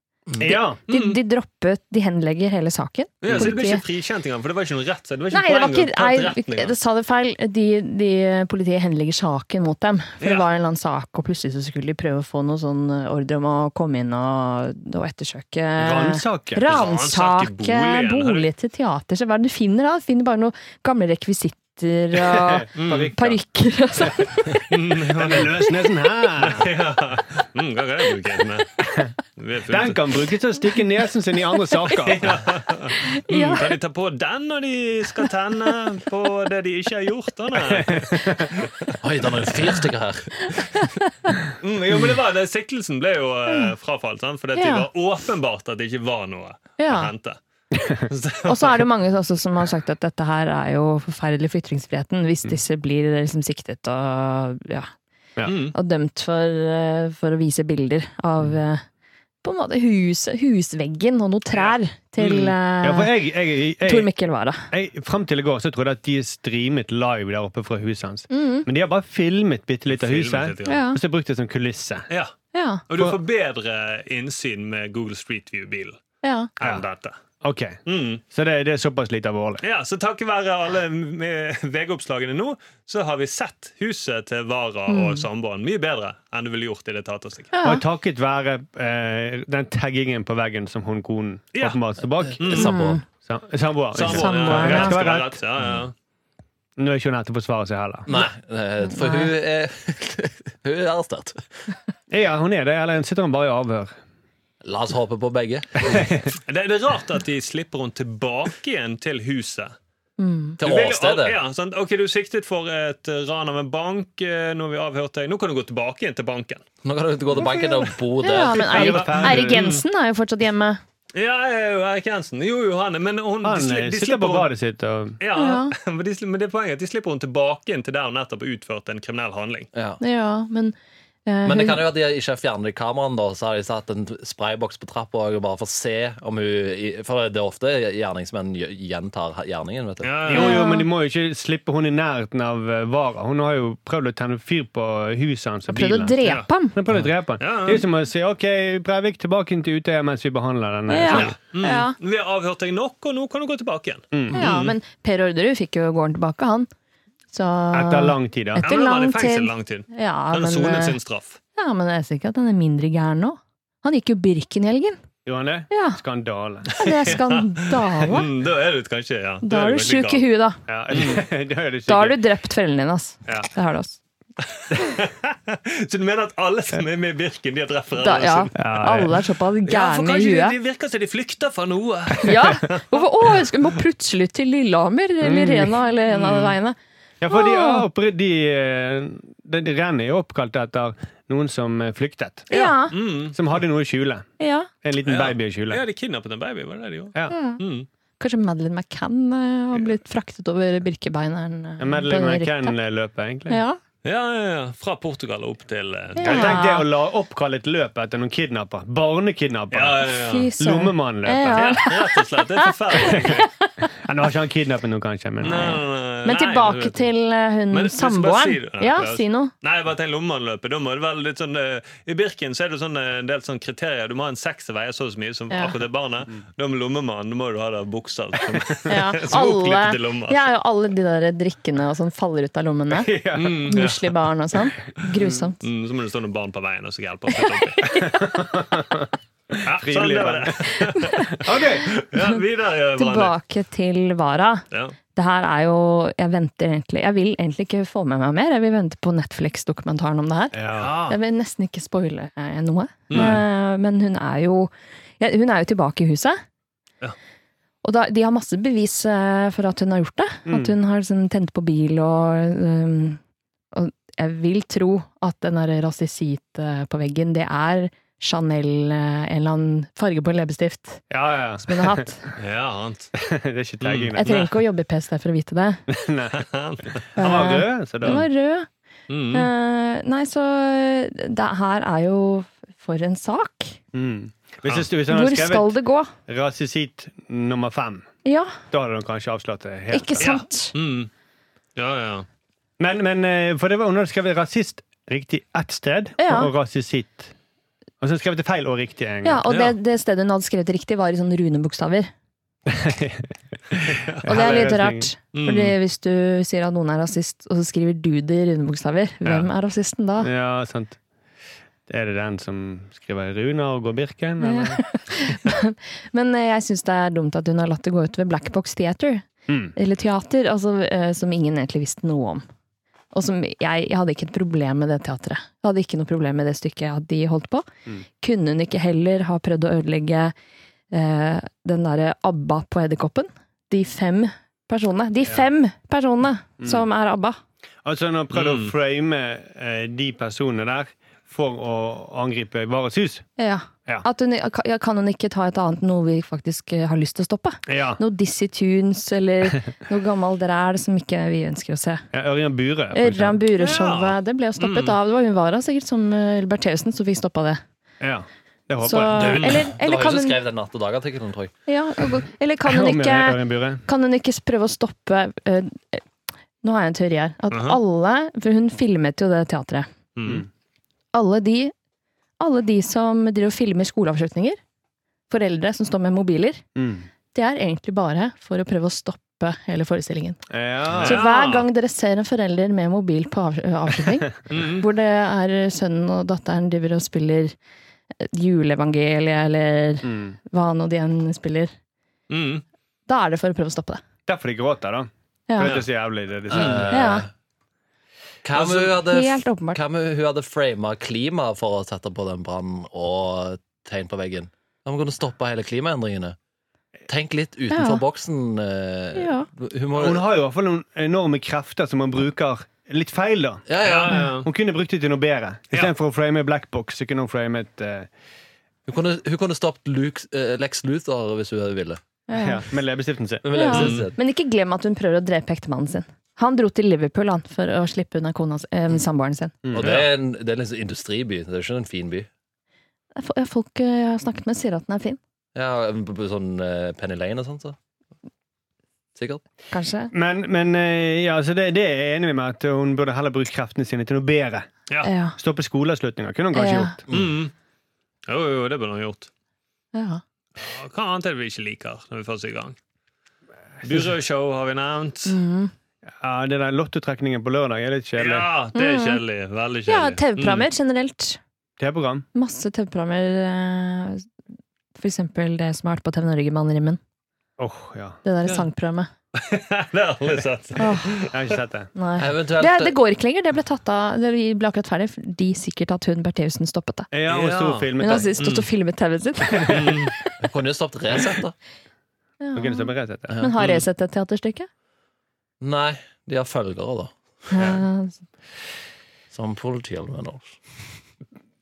S3: Ja.
S4: De, de droppet De henlegger hele saken.
S2: Ja, så det ble
S4: Politiet-
S2: ikke frikjent engang, for det var ikke noe rett. så Det var ikke
S4: Nei, det var
S2: poeng å
S4: ikke,
S2: ta til
S4: nei,
S2: retten engang.
S4: det sa det feil. De, de, politiet henlegger saken mot dem. For
S2: Ja.
S4: det var en eller annen sak, og plutselig så skulle de prøve å få noen sånn ordre om å komme inn og, og ettersøke
S3: Ransake.
S2: Ransake
S4: Ransake
S2: boligen, eller?
S4: bolig til teater. Så hva er det du finner da? Du finner bare noen gamle rekvisitter og
S2: Mm.
S3: Parykker.
S4: parykker og sånn.
S3: Den er løsnesen her.
S2: Ja. Mm, hva kan jeg bruke den med? Vi har
S3: Den
S2: funnet-
S3: kan brukes til å stikke nesen sin i andre saker.
S2: Mm, kan de ta på den når de skal tenne på det de ikke har gjort? Da, nei?
S6: Oi, det er noen fire stykker her.
S2: Mm, jo, men det var, det, Siktelsen ble jo eh, frafalt, sant? fordi at det
S4: Ja.
S2: var åpenbart at det ikke var noe å
S4: Ja.
S2: hente.
S4: Og så er det mange også som har sagt at dette her er jo forferdelig for ytringsfriheten, hvis disse blir liksom siktet og, ja,
S3: Ja.
S4: og dømt for, eh, for å vise bilder av eh, på en måte hus, husveggen og noen trær til
S3: Mm. Ja, for
S4: eh,
S3: jeg, jeg, jeg,
S4: Tor
S3: jeg,
S4: Mikkel Wara.
S3: jeg, frem til i går så trodde jeg at de streamet live der oppe fra huset hans. Men de har bare filmet bitte litt av
S2: Filmet
S3: huset,
S2: litt,
S4: Mm. Ja.
S3: og så brukt det som kulisse.
S2: Ja.
S4: Ja,
S2: Og du får bedre innsyn med Google Street View-bilen
S4: ja.
S2: enn dette.
S3: Ok,
S2: Mm.
S3: Så det, det er såpass lite alvorlig.
S2: Ja, Så takket være alle med- VG-oppslagene nå, så har vi sett huset til Vara og samboeren mye bedre enn du ville gjort i det teaterstykket.
S4: Ja.
S3: Og takket være eh, den taggingen på veggen som hun konen
S2: Ja.
S3: åpenbart står bak.
S6: Mm. Samboer.
S3: Sam- Samboer.
S2: Samboeren,
S4: Samboeren,
S2: ja.
S4: ja.
S2: Rett skal være rett. Ja, ja.
S3: Nå er ikke hun her til å forsvare seg heller.
S6: Nei, eh, for hun er Hun er arrestert.
S3: Ja, hun er det, eller sitter hun bare i avhør?
S6: La oss håpe på begge.
S2: Det, det er rart at de slipper henne tilbake igjen til huset.
S6: Til
S2: Du vil jo
S6: åstedet.
S2: al- Ja, sant? Ok, Du er siktet for et eh, ran av en bank. eh, Nå har vi avhørt deg. Nå kan du gå tilbake igjen til banken.
S6: Nå kan du gå til banken og bo
S4: ja
S6: der.
S4: men Eirik, Eirik Jensen er jo fortsatt hjemme.
S2: Ja, eh, Erik Jensen. Jo, jo, han er Men hun, de
S3: Han
S2: sli-
S3: eh,
S2: de
S3: sitter på
S2: slipper hun-
S3: badet sitt og
S2: Ja,
S4: Ja.
S2: Men, de, sli- men det er poenget at de slipper hun tilbake inn til der hun nettopp har utført en kriminell handling.
S6: Ja.
S4: Ja, men eh,
S6: Men det
S4: hun-
S6: kan jo være de ikke har fjernet kameraene, da, så har de satt en sprayboks på trappa og bare for å se om hun For det er ofte gjerningsmenn gjentar gjerningen, vet du.
S2: Ja,
S3: Jo, jo, men de må jo ikke slippe hun i nærheten av eh, vara. Hun har jo prøvd å tenne fyr på huset hans og
S4: prøvde
S3: bilen.
S4: å drepe ham.
S3: Hun har prøvd å drepe han.
S2: Ja, ja.
S3: Det er jo som å si OK, Breivik, tilbake inn til Utøya mens vi behandler eh, sånn, denne.
S4: Ja.
S3: saken.
S4: Ja.
S2: Vi har avhørt deg nok, og nå kan du gå tilbake igjen.
S4: ja, men Per Orderud fikk jo gården tilbake, han. Så
S3: Etter lang tid, da.
S4: Et-
S2: Ja, men nå var han i
S4: lang
S2: fengsel
S4: tid.
S2: lang tid.
S4: ja,
S2: Han
S4: men,
S2: sonet
S4: eh,
S2: sin straff.
S4: ja, men jeg ser ikke at han er mindre gæren nå. Han gikk jo Birken i helgen.
S3: Gjorde han det?
S4: Ja,
S3: Skandale.
S4: det er skandale.
S2: Mm, da er du kanskje ja.
S4: Da er du
S2: kanskje
S4: sjuk i
S2: gal.
S4: huet, da.
S3: Ja, det er det
S4: Da
S3: sikkert.
S4: har du drept foreldrene dine, ass.
S2: Ja.
S4: Det har du også.
S2: Så du mener at alle som er med i Birken, de har drept
S4: Da,
S2: foreldrene
S4: ja.
S2: sine?
S3: ja.
S4: Alle er såpass
S2: Ja, for
S4: gærne i
S2: kanskje de,
S4: huet.
S2: de virker som de flykter fra noe.
S4: Ja. Hvorfor? Å, jeg skal, må plutselig til Lillehammer
S2: Mm.
S4: eller Rena eller en av de veiene.
S3: Ja, for de,
S4: Ah.
S3: oppre- de, eh, de, de renner jo oppkalt etter noen som eh, flyktet.
S4: Ja.
S2: Mm.
S3: Som hadde noe å skjule.
S4: ja.
S3: En liten
S2: Ja.
S3: baby å skjule.
S2: Ja, de kidnappet en baby, var det det de gjorde?
S3: Ja.
S2: Mm.
S4: Kanskje Madeleine McCann eh, har blitt fraktet over Birkebeineren. eh,
S3: Madeleine
S4: på
S3: McCann
S4: Rikka.
S3: løpet, egentlig.
S4: Ja.
S2: Ja, ja, ja. Fra Portugal og opp til eh,
S4: Ja.
S3: Jeg tenkte det å la oppkalle et løp etter noen kidnapper.
S2: Ja,
S3: Barnekidnapper.
S2: ja, ja.
S4: Fy søren.
S3: Lommemannløper.
S4: Ja.
S2: Ja, rett og slett. Det er forferdelig. egentlig.
S3: Ja, Nå har ikke han kidnappet noe, kanskje. Men,
S2: Nei, nei,
S4: Men
S2: nei,
S4: tilbake
S2: det-
S4: til eh, hun
S2: Men- men så bare si
S4: samboeren.
S2: det.
S4: Ja,
S2: Ja. altså.
S4: si noe.
S2: Nei, bare tenk lommemannløpet. Da må det være litt sånn eh, I Birken så er det sånn, eh, en del sånn kriterier. Du må ha en sekk som veier så og så mye som
S4: Ja.
S2: akkurat det barnet. Da med lommemann, da må du ha det av liksom. bukser som,
S4: Ja,
S2: som
S4: alle,
S2: oppklippet i lomma.
S4: ja, og alle de der drikkene og sånn faller ut av lommene.
S2: Mm, ja.
S4: Muslig barn og sånn. Grusomt.
S2: Mm, så må det stå noen barn på veien og så hjelpe. å flytte opp. Ja, sånn, det var det.
S3: Ok.
S2: Ja, videre, Brandy.
S4: Tilbake til Vara.
S2: Ja.
S4: Det her er jo Jeg venter egentlig Jeg vil egentlig ikke få med meg mer. Jeg vil vente på Netflix-dokumentaren om det her.
S3: Ja.
S2: Ah,
S4: Jeg vil nesten ikke spoile eh, noe. Eh, Men hun er jo ja, Hun er jo tilbake i huset.
S2: Ja.
S4: Og da, de har masse bevis eh, for at hun har gjort det.
S3: Mm.
S4: At hun har liksom, tent på bil og um, Og jeg vil tro at den der rasisit eh, på veggen, det er Chanel, eh, en eller annen farge på en leppestift
S3: ja, ja.
S4: som hun har hatt.
S2: ja, sant.
S3: Det er
S2: Mm.
S3: ikke tagging,
S4: Jeg
S3: det.
S4: trenger ikke å jobbe i PST for å vite det.
S3: Han var
S4: Eh,
S3: rød, så da
S4: Den var rød.
S2: Mm.
S4: Eh, nei, så eh, det her er jo for en sak.
S3: mm. Hvis det sto- hvis han
S4: Hvor
S3: hadde
S4: skal
S3: skrevet
S4: det gå?
S3: rasisitt nummer fem,
S4: Ja,
S3: da hadde han kanskje avslått det helt.
S4: ikke sant?
S2: Mm. Ja, ja.
S3: Men, men eh, for det var hun hadde skrevet rasist riktig ett sted,
S4: Ja.
S3: og rasisitt Og så skrev det feil og riktig en
S4: Mm. Ja,
S3: gang.
S4: Og det, det stedet hun hadde skrevet riktig, var i sånne runebokstaver. Og det Mm. er litt rart. Fordi hvis du sier at noen er rasist, og så skriver du det i runebokstaver, hvem er rasisten da?
S3: Ja, sant. Er det den som skriver Runar og går Birken? Eller?
S4: Men eh, jeg syns det er dumt at hun har latt det gå ut ved Black Box Theater.
S3: Mm.
S4: Eller teater, altså, eh, som ingen egentlig visste noe om. Og som jeg, jeg hadde ikke et problem med det teatret. Jeg hadde ikke noe problem med det stykket at de holdt på.
S3: Mm.
S4: Kunne hun ikke heller ha prøvd å ødelegge eh, den derre ABBA på Edderkoppen? De fem personene. De fem personene
S3: Mm.
S4: som er ABBA.
S3: Altså, hun har prøvd å frame eh, de personene der for å angripe Vares hus.
S4: Ja.
S3: Ja.
S4: At hun, ja, kan hun ikke ta et annet noe vi faktisk eh, har lyst til å stoppe?
S3: Ja.
S4: Noe Dizzie Tunes eller noe gammel dræl som ikke vi ønsker å se.
S3: ja Ørjan Bure. for
S4: Ørjan
S3: eksempel.
S4: Bure-showet. Det ble jo stoppet
S6: Mm.
S4: av Det var hun Vara sikkert som eh, Albert Theussen som fikk stoppa det.
S3: Ja, det håper
S4: Så,
S3: jeg.
S4: eller,
S6: Det
S4: eller,
S6: var jo
S4: kan
S6: som
S4: hun,
S6: skrev den Natt og dag-artikkelen, tror jeg.
S4: ja, eller kan hun
S3: Om
S4: ikke
S3: Ørjan Bure.
S4: Kan hun ikke prøve å stoppe eh, eh, Nå har jeg en teori her. At
S6: Mhm.
S4: alle For hun filmet jo det teatret.
S2: Mm.
S4: Alle de Alle de som driver og filmer skoleavslutninger, foreldre som står med mobiler,
S3: Mm.
S4: det er egentlig bare for å prøve å stoppe hele forestillingen.
S3: Ja.
S4: Så
S2: Ja.
S4: hver gang dere ser en forelder med mobil på av- avslutning,
S2: Mm.
S4: hvor det er sønnen og datteren driver og spiller eh, juleevangeliet, eller
S3: Mm.
S4: hva nå de enn spiller,
S2: Mm.
S4: da er det for å prøve å stoppe det.
S3: Derfor de gråter, da.
S4: Ja.
S3: For dette er liksom- så jævlig. Det, de sier.
S6: Eh,
S4: Ja.
S6: Hva om hun hadde,
S4: Altså, Helt åpenbart.
S6: hva om hun hadde frama klima for å sette på den brannen og tegn på veggen? Hva om hun kunne stoppa hele klimaendringene? Tenk litt utenfor
S4: Ja.
S6: boksen. eh,
S4: Ja.
S6: Hun må
S3: Hun har jo i hvert fall noen enorme krefter som hun bruker litt feil, da.
S6: ja, ja.
S2: Ja, ja.
S3: Hun kunne brukt det til noe bedre. Istedenfor å frame black box, så kunne hun framet uh,
S6: Hun kunne, hun kunne stoppet Luke, eh, Lex Luthor hvis hun ville.
S4: Ja, ja.
S3: Ja, med leppestiften sin.
S6: Men,
S4: Ja.
S6: leppestiften-
S4: Men ikke glem at hun prøver å drepe ektemannen sin. Han dro til Liverpool han, for å slippe unna kona, eh, samboeren sin.
S6: Og det er en, det er en liksom industriby. Det er ikke en fin by.
S4: F- ja, Folk eh, jeg har snakket med, sier at den er fin.
S6: Ja, på- på Sånn eh, Penny Lane og sånt. Så. Sikkert.
S4: Kanskje.
S3: Men, men eh, ja, så det, det er jeg enig med at hun burde heller bruke kreftene sine til noe bedre.
S2: Ja.
S4: Ja.
S3: Stoppe skoleavslutninger kunne hun kanskje
S4: Ja.
S3: gjort.
S2: Mm. Jo, jo, det burde han gjort.
S4: ja.
S2: Og Hva annet er det vi ikke liker når vi først er i gang? Burøshow har vi nevnt.
S4: Mm.
S3: Ja, det der Lottotrekningen på lørdag er litt kjedelig.
S2: Ja, det er kjedelig. Veldig
S4: Mm. ja
S2: kjedelig. Mm.
S4: TV-programmer generelt.
S3: TV-program.
S4: Masse TV-programmer. eh, For eksempel det som har vært på TV Norge med Anne Rimmen.
S3: Åh, ja.
S4: Det der
S2: Ja.
S4: sangprogrammet.
S2: Mm. det har alle sett.
S4: Åh,
S3: Jeg har ikke sett det.
S4: nei.
S6: Eventuelt
S4: Det, det går ikke lenger. Det ble, tatt av, det ble akkurat ferdig fordi sikkert at hun Bertheussen stoppet det.
S3: Ja, og
S2: Ja.
S3: stor film.
S4: Hun har sist stått og filmet TV-en sin.
S6: Hun eh, kunne jo stoppet Resett, da.
S3: Hun kunne stoppe rett etter.
S4: Men har resett et teaterstykke?
S6: Nei, de har følgere, da.
S4: Ja.
S6: Som politianmelder.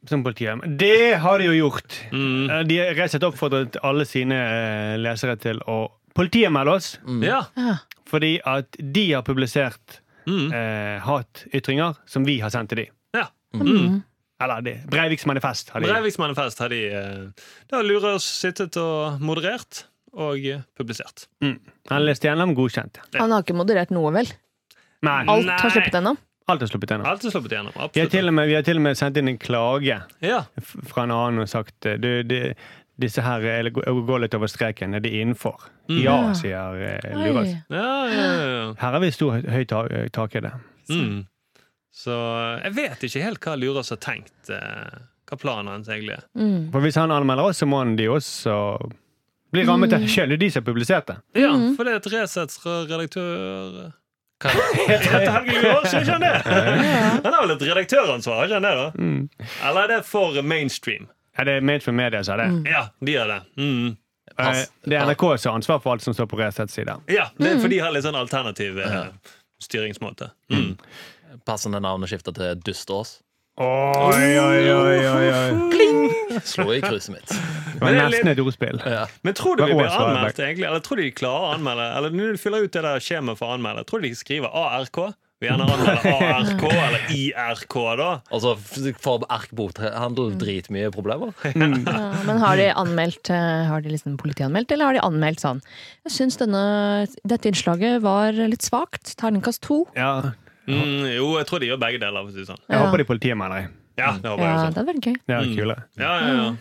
S3: Som politiet. Det har de jo gjort.
S2: Mm.
S3: Eh, De har rett og slett oppfordret alle sine eh, lesere til å politianmelde oss,
S2: Ja.
S4: Ja.
S3: fordi at de har publisert
S2: Mm.
S3: eh, hatytringer som vi har sendt til de.
S2: ja.
S4: Mm.
S3: Eller de. Breiviks manifest har de.
S2: Breiviks manifest har de eh, Da har Lurøs sittet og moderert og eh, publisert.
S3: Mm. Han leste gjennom, godkjent.
S4: Han har ikke moderert noe, vel?
S3: Nei,
S4: Alt har
S2: Nei.
S4: sluppet gjennom?
S3: alt er sluppet gjennom.
S2: Alt er sluppet gjennom.
S3: Vi har, til
S2: Absolutt.
S3: og med, vi har til og med sendt inn en klage
S2: Ja.
S3: f- fra en annen og sagt eh, du, de, disse her eh, går går litt over streken. Er de innenfor? Ja,
S4: Ja.
S3: sier eh, Luras.
S4: Oi.
S2: Ja, ja, ja, ja.
S3: Her har vi stor høy ta- eh, tak i det.
S2: Mm. Så eh, jeg vet ikke helt hva Lurøs har tenkt. eh, Hva planen hans egentlig er.
S4: Mm.
S3: For hvis han anmelder oss, så må han de også bli rammet av sjøl. Det er de som har publisert det.
S2: Ja, for det er et Resets redaktør eh,
S6: Hva?
S2: Heter Helge Lurøs, er ikke han det? Han har vel et redaktøransvar, er ikke han det? da?
S3: Mm.
S2: Eller er det for mainstream?
S3: Ja, det er Mainstream Media som har det.
S2: Ja, de har det. Mm.
S3: Eh,
S6: Pass.
S3: Det er NRK som har ansvar for alt som står på Resets side.
S2: Ja, det er for de har litt sånn alternativ eh, styringsmåte. Mm.
S6: Passende navneskifte til Dustås.
S3: Oi, oi, oi, oi, oi.
S6: Slo i krysset mitt.
S3: Det
S2: Men
S3: var
S2: det er
S3: nesten et ordspill.
S2: Men tror du vi
S3: Hva
S2: blir
S3: var svaret,
S2: anmeldt, egentlig? Eller tror du de klarer å anmelde? Eller når du fyller ut det der skjemaet for å anmelde, tror du de skriver ARK? Vi gjerne anmelder ARK eller IRK, da.
S6: Og så Altså, f- får Ark Bokhandel dritmye problemer.
S3: Mm,
S4: Ja, men har de anmeldt eh, Har de liksom politianmeldt, eller har de anmeldt sånn Jeg syns denne, dette innslaget var litt svakt. Terningkast to.
S3: Ja,
S2: Mm, jo, jeg tror de gjør begge deler, for å si det sånn.
S3: jeg
S4: Ja.
S3: håper de politianmelder deg.
S2: Ja, det håper
S4: Ja,
S2: jeg
S4: det
S2: også. Mm.
S4: hadde vært gøy.
S3: Det er kulere.
S2: Ja, ja, ja.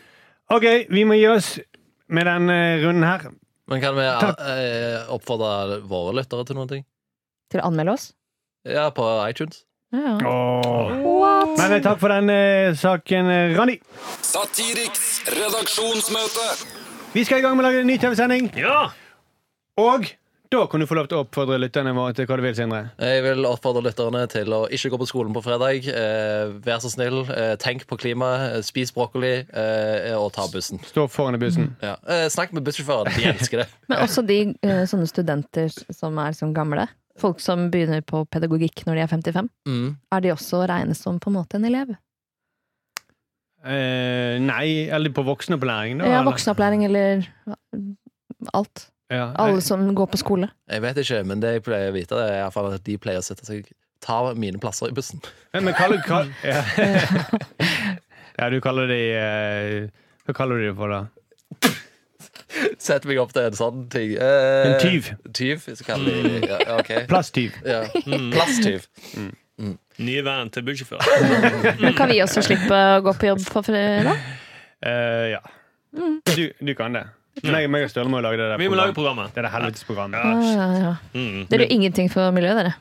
S3: OK, vi må gi oss med den eh, runden her.
S6: Men kan vi eh, oppfordre våre lyttere til noen ting?
S4: Til å anmelde oss.
S6: Ja, på iTunes.
S4: Ja.
S3: Åh.
S4: What?
S3: Men eh, takk for den eh, saken, eh, Randi.
S5: Satiriks redaksjonsmøte.
S3: Vi skal i gang med å lage en ny TV-sending,
S2: ja.
S3: og da kan du få lov til å oppfordre lytterne våre til hva du vil, Sindre.
S6: Jeg vil oppfordre lytterne til å ikke gå på skolen på fredag. Eh, vær så snill, eh, tenk på klimaet, eh, spis brokkoli eh, og ta bussen.
S3: Stå foran i bussen.
S6: Ja. Eh, snakk med bussjåføren, de elsker det.
S4: Men også de eh, sånne studenter som er sånn gamle. Folk som begynner på pedagogikk når de er 55.
S6: Mm.
S4: Er de også å regne som på en måte en elev?
S3: Eh, nei, eller på voksenopplæring, da.
S4: Ja,
S3: eller?
S4: voksenopplæring eller alt.
S3: Ja,
S4: Alle som går på skole.
S6: Jeg vet ikke, men det jeg pleier å vite, er i hvert fall at de pleier å sette seg Ta mine plasser i bussen.
S3: Eh, Men, men kaller, kall- ja. ja, du kaller de eh, Hva kaller du de for, da?
S6: Sett meg opp til en sånn ting. Eh,
S3: En tyv.
S6: Tyv, så kaller de ja, ja, ok.
S3: Plasttyv.
S6: Ja. Plasttyv.
S2: Nye veien til bussjåfør.
S4: Men kan vi også slippe å gå på jobb på fredag?
S3: Eh, ja.
S4: Mm.
S3: Du, du kan det. Meg, meg og Støle må jo lage det der
S2: Vi må lage
S3: programmet.
S2: programmet.
S3: Det er det helvetes programmet.
S4: Ja, ja, ja.
S2: Mm.
S4: Dere gjør ingenting for miljøet, dere.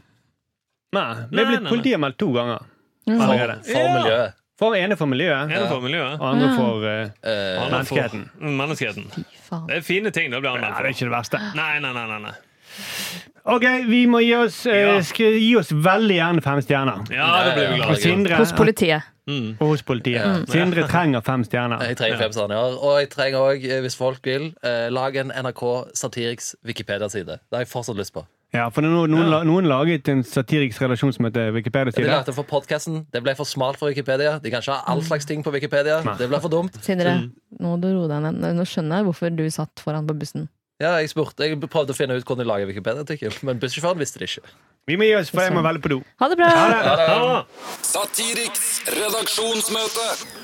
S3: Nei, vi er
S2: Nei,
S3: blitt
S2: nei, nei.
S3: politianmeldt to ganger.
S4: Mm.
S6: For,
S3: Allerede.
S6: for
S2: Ja.
S6: miljøet.
S3: For ene for miljøet,
S2: Er det for miljøet?
S3: og andre
S4: Ja.
S3: for eh,
S6: Eh,
S2: Alle for-
S3: Menneskeheten.
S2: Mm, Menneskeheten.
S4: Fy faen.
S2: Det er fine ting det blir
S3: ja,
S2: anmeldt
S3: Det er
S2: for.
S3: ikke det verste.
S2: Nei, nei, nei. nei, nei.
S3: OK, vi må gi oss, eh,
S2: Ja.
S3: skal gi oss veldig gjerne fem stjerner.
S2: Ja, det blir vi
S6: Ja,
S2: glad
S3: Og
S2: i.
S3: Sindre
S4: Hos politiet.
S2: Mm.
S3: og hos politiet. Sindre trenger fem stjerner.
S6: Jeg trenger fem stjerner. Og jeg trenger eh, òg, hvis folk vil, eh, lag en NRK Satiriks Wikipedia-side. Det har jeg fortsatt lyst på.
S3: Ja, for noen, noen, la- noen laget en satirisk relasjon som heter
S6: De
S3: Wikipedia-side.
S6: lagde for podcasten. Det ble for smalt for Wikipedia. De kan ikke ha all slags ting på Wikipedia. Det ble for dumt.
S4: Sindre, nå må du roe deg ned. Nå skjønner jeg hvorfor du satt foran på bussen.
S6: Ja, jeg, spurte, jeg prøvde å finne ut hvordan de lager Wikipedia-artikkel, men bussjåføren visste det ikke.
S3: Vi må gi oss, for jeg må velge på do.
S4: Ha det bra!
S2: Ha det.
S5: Satiriks redaksjonsmøte.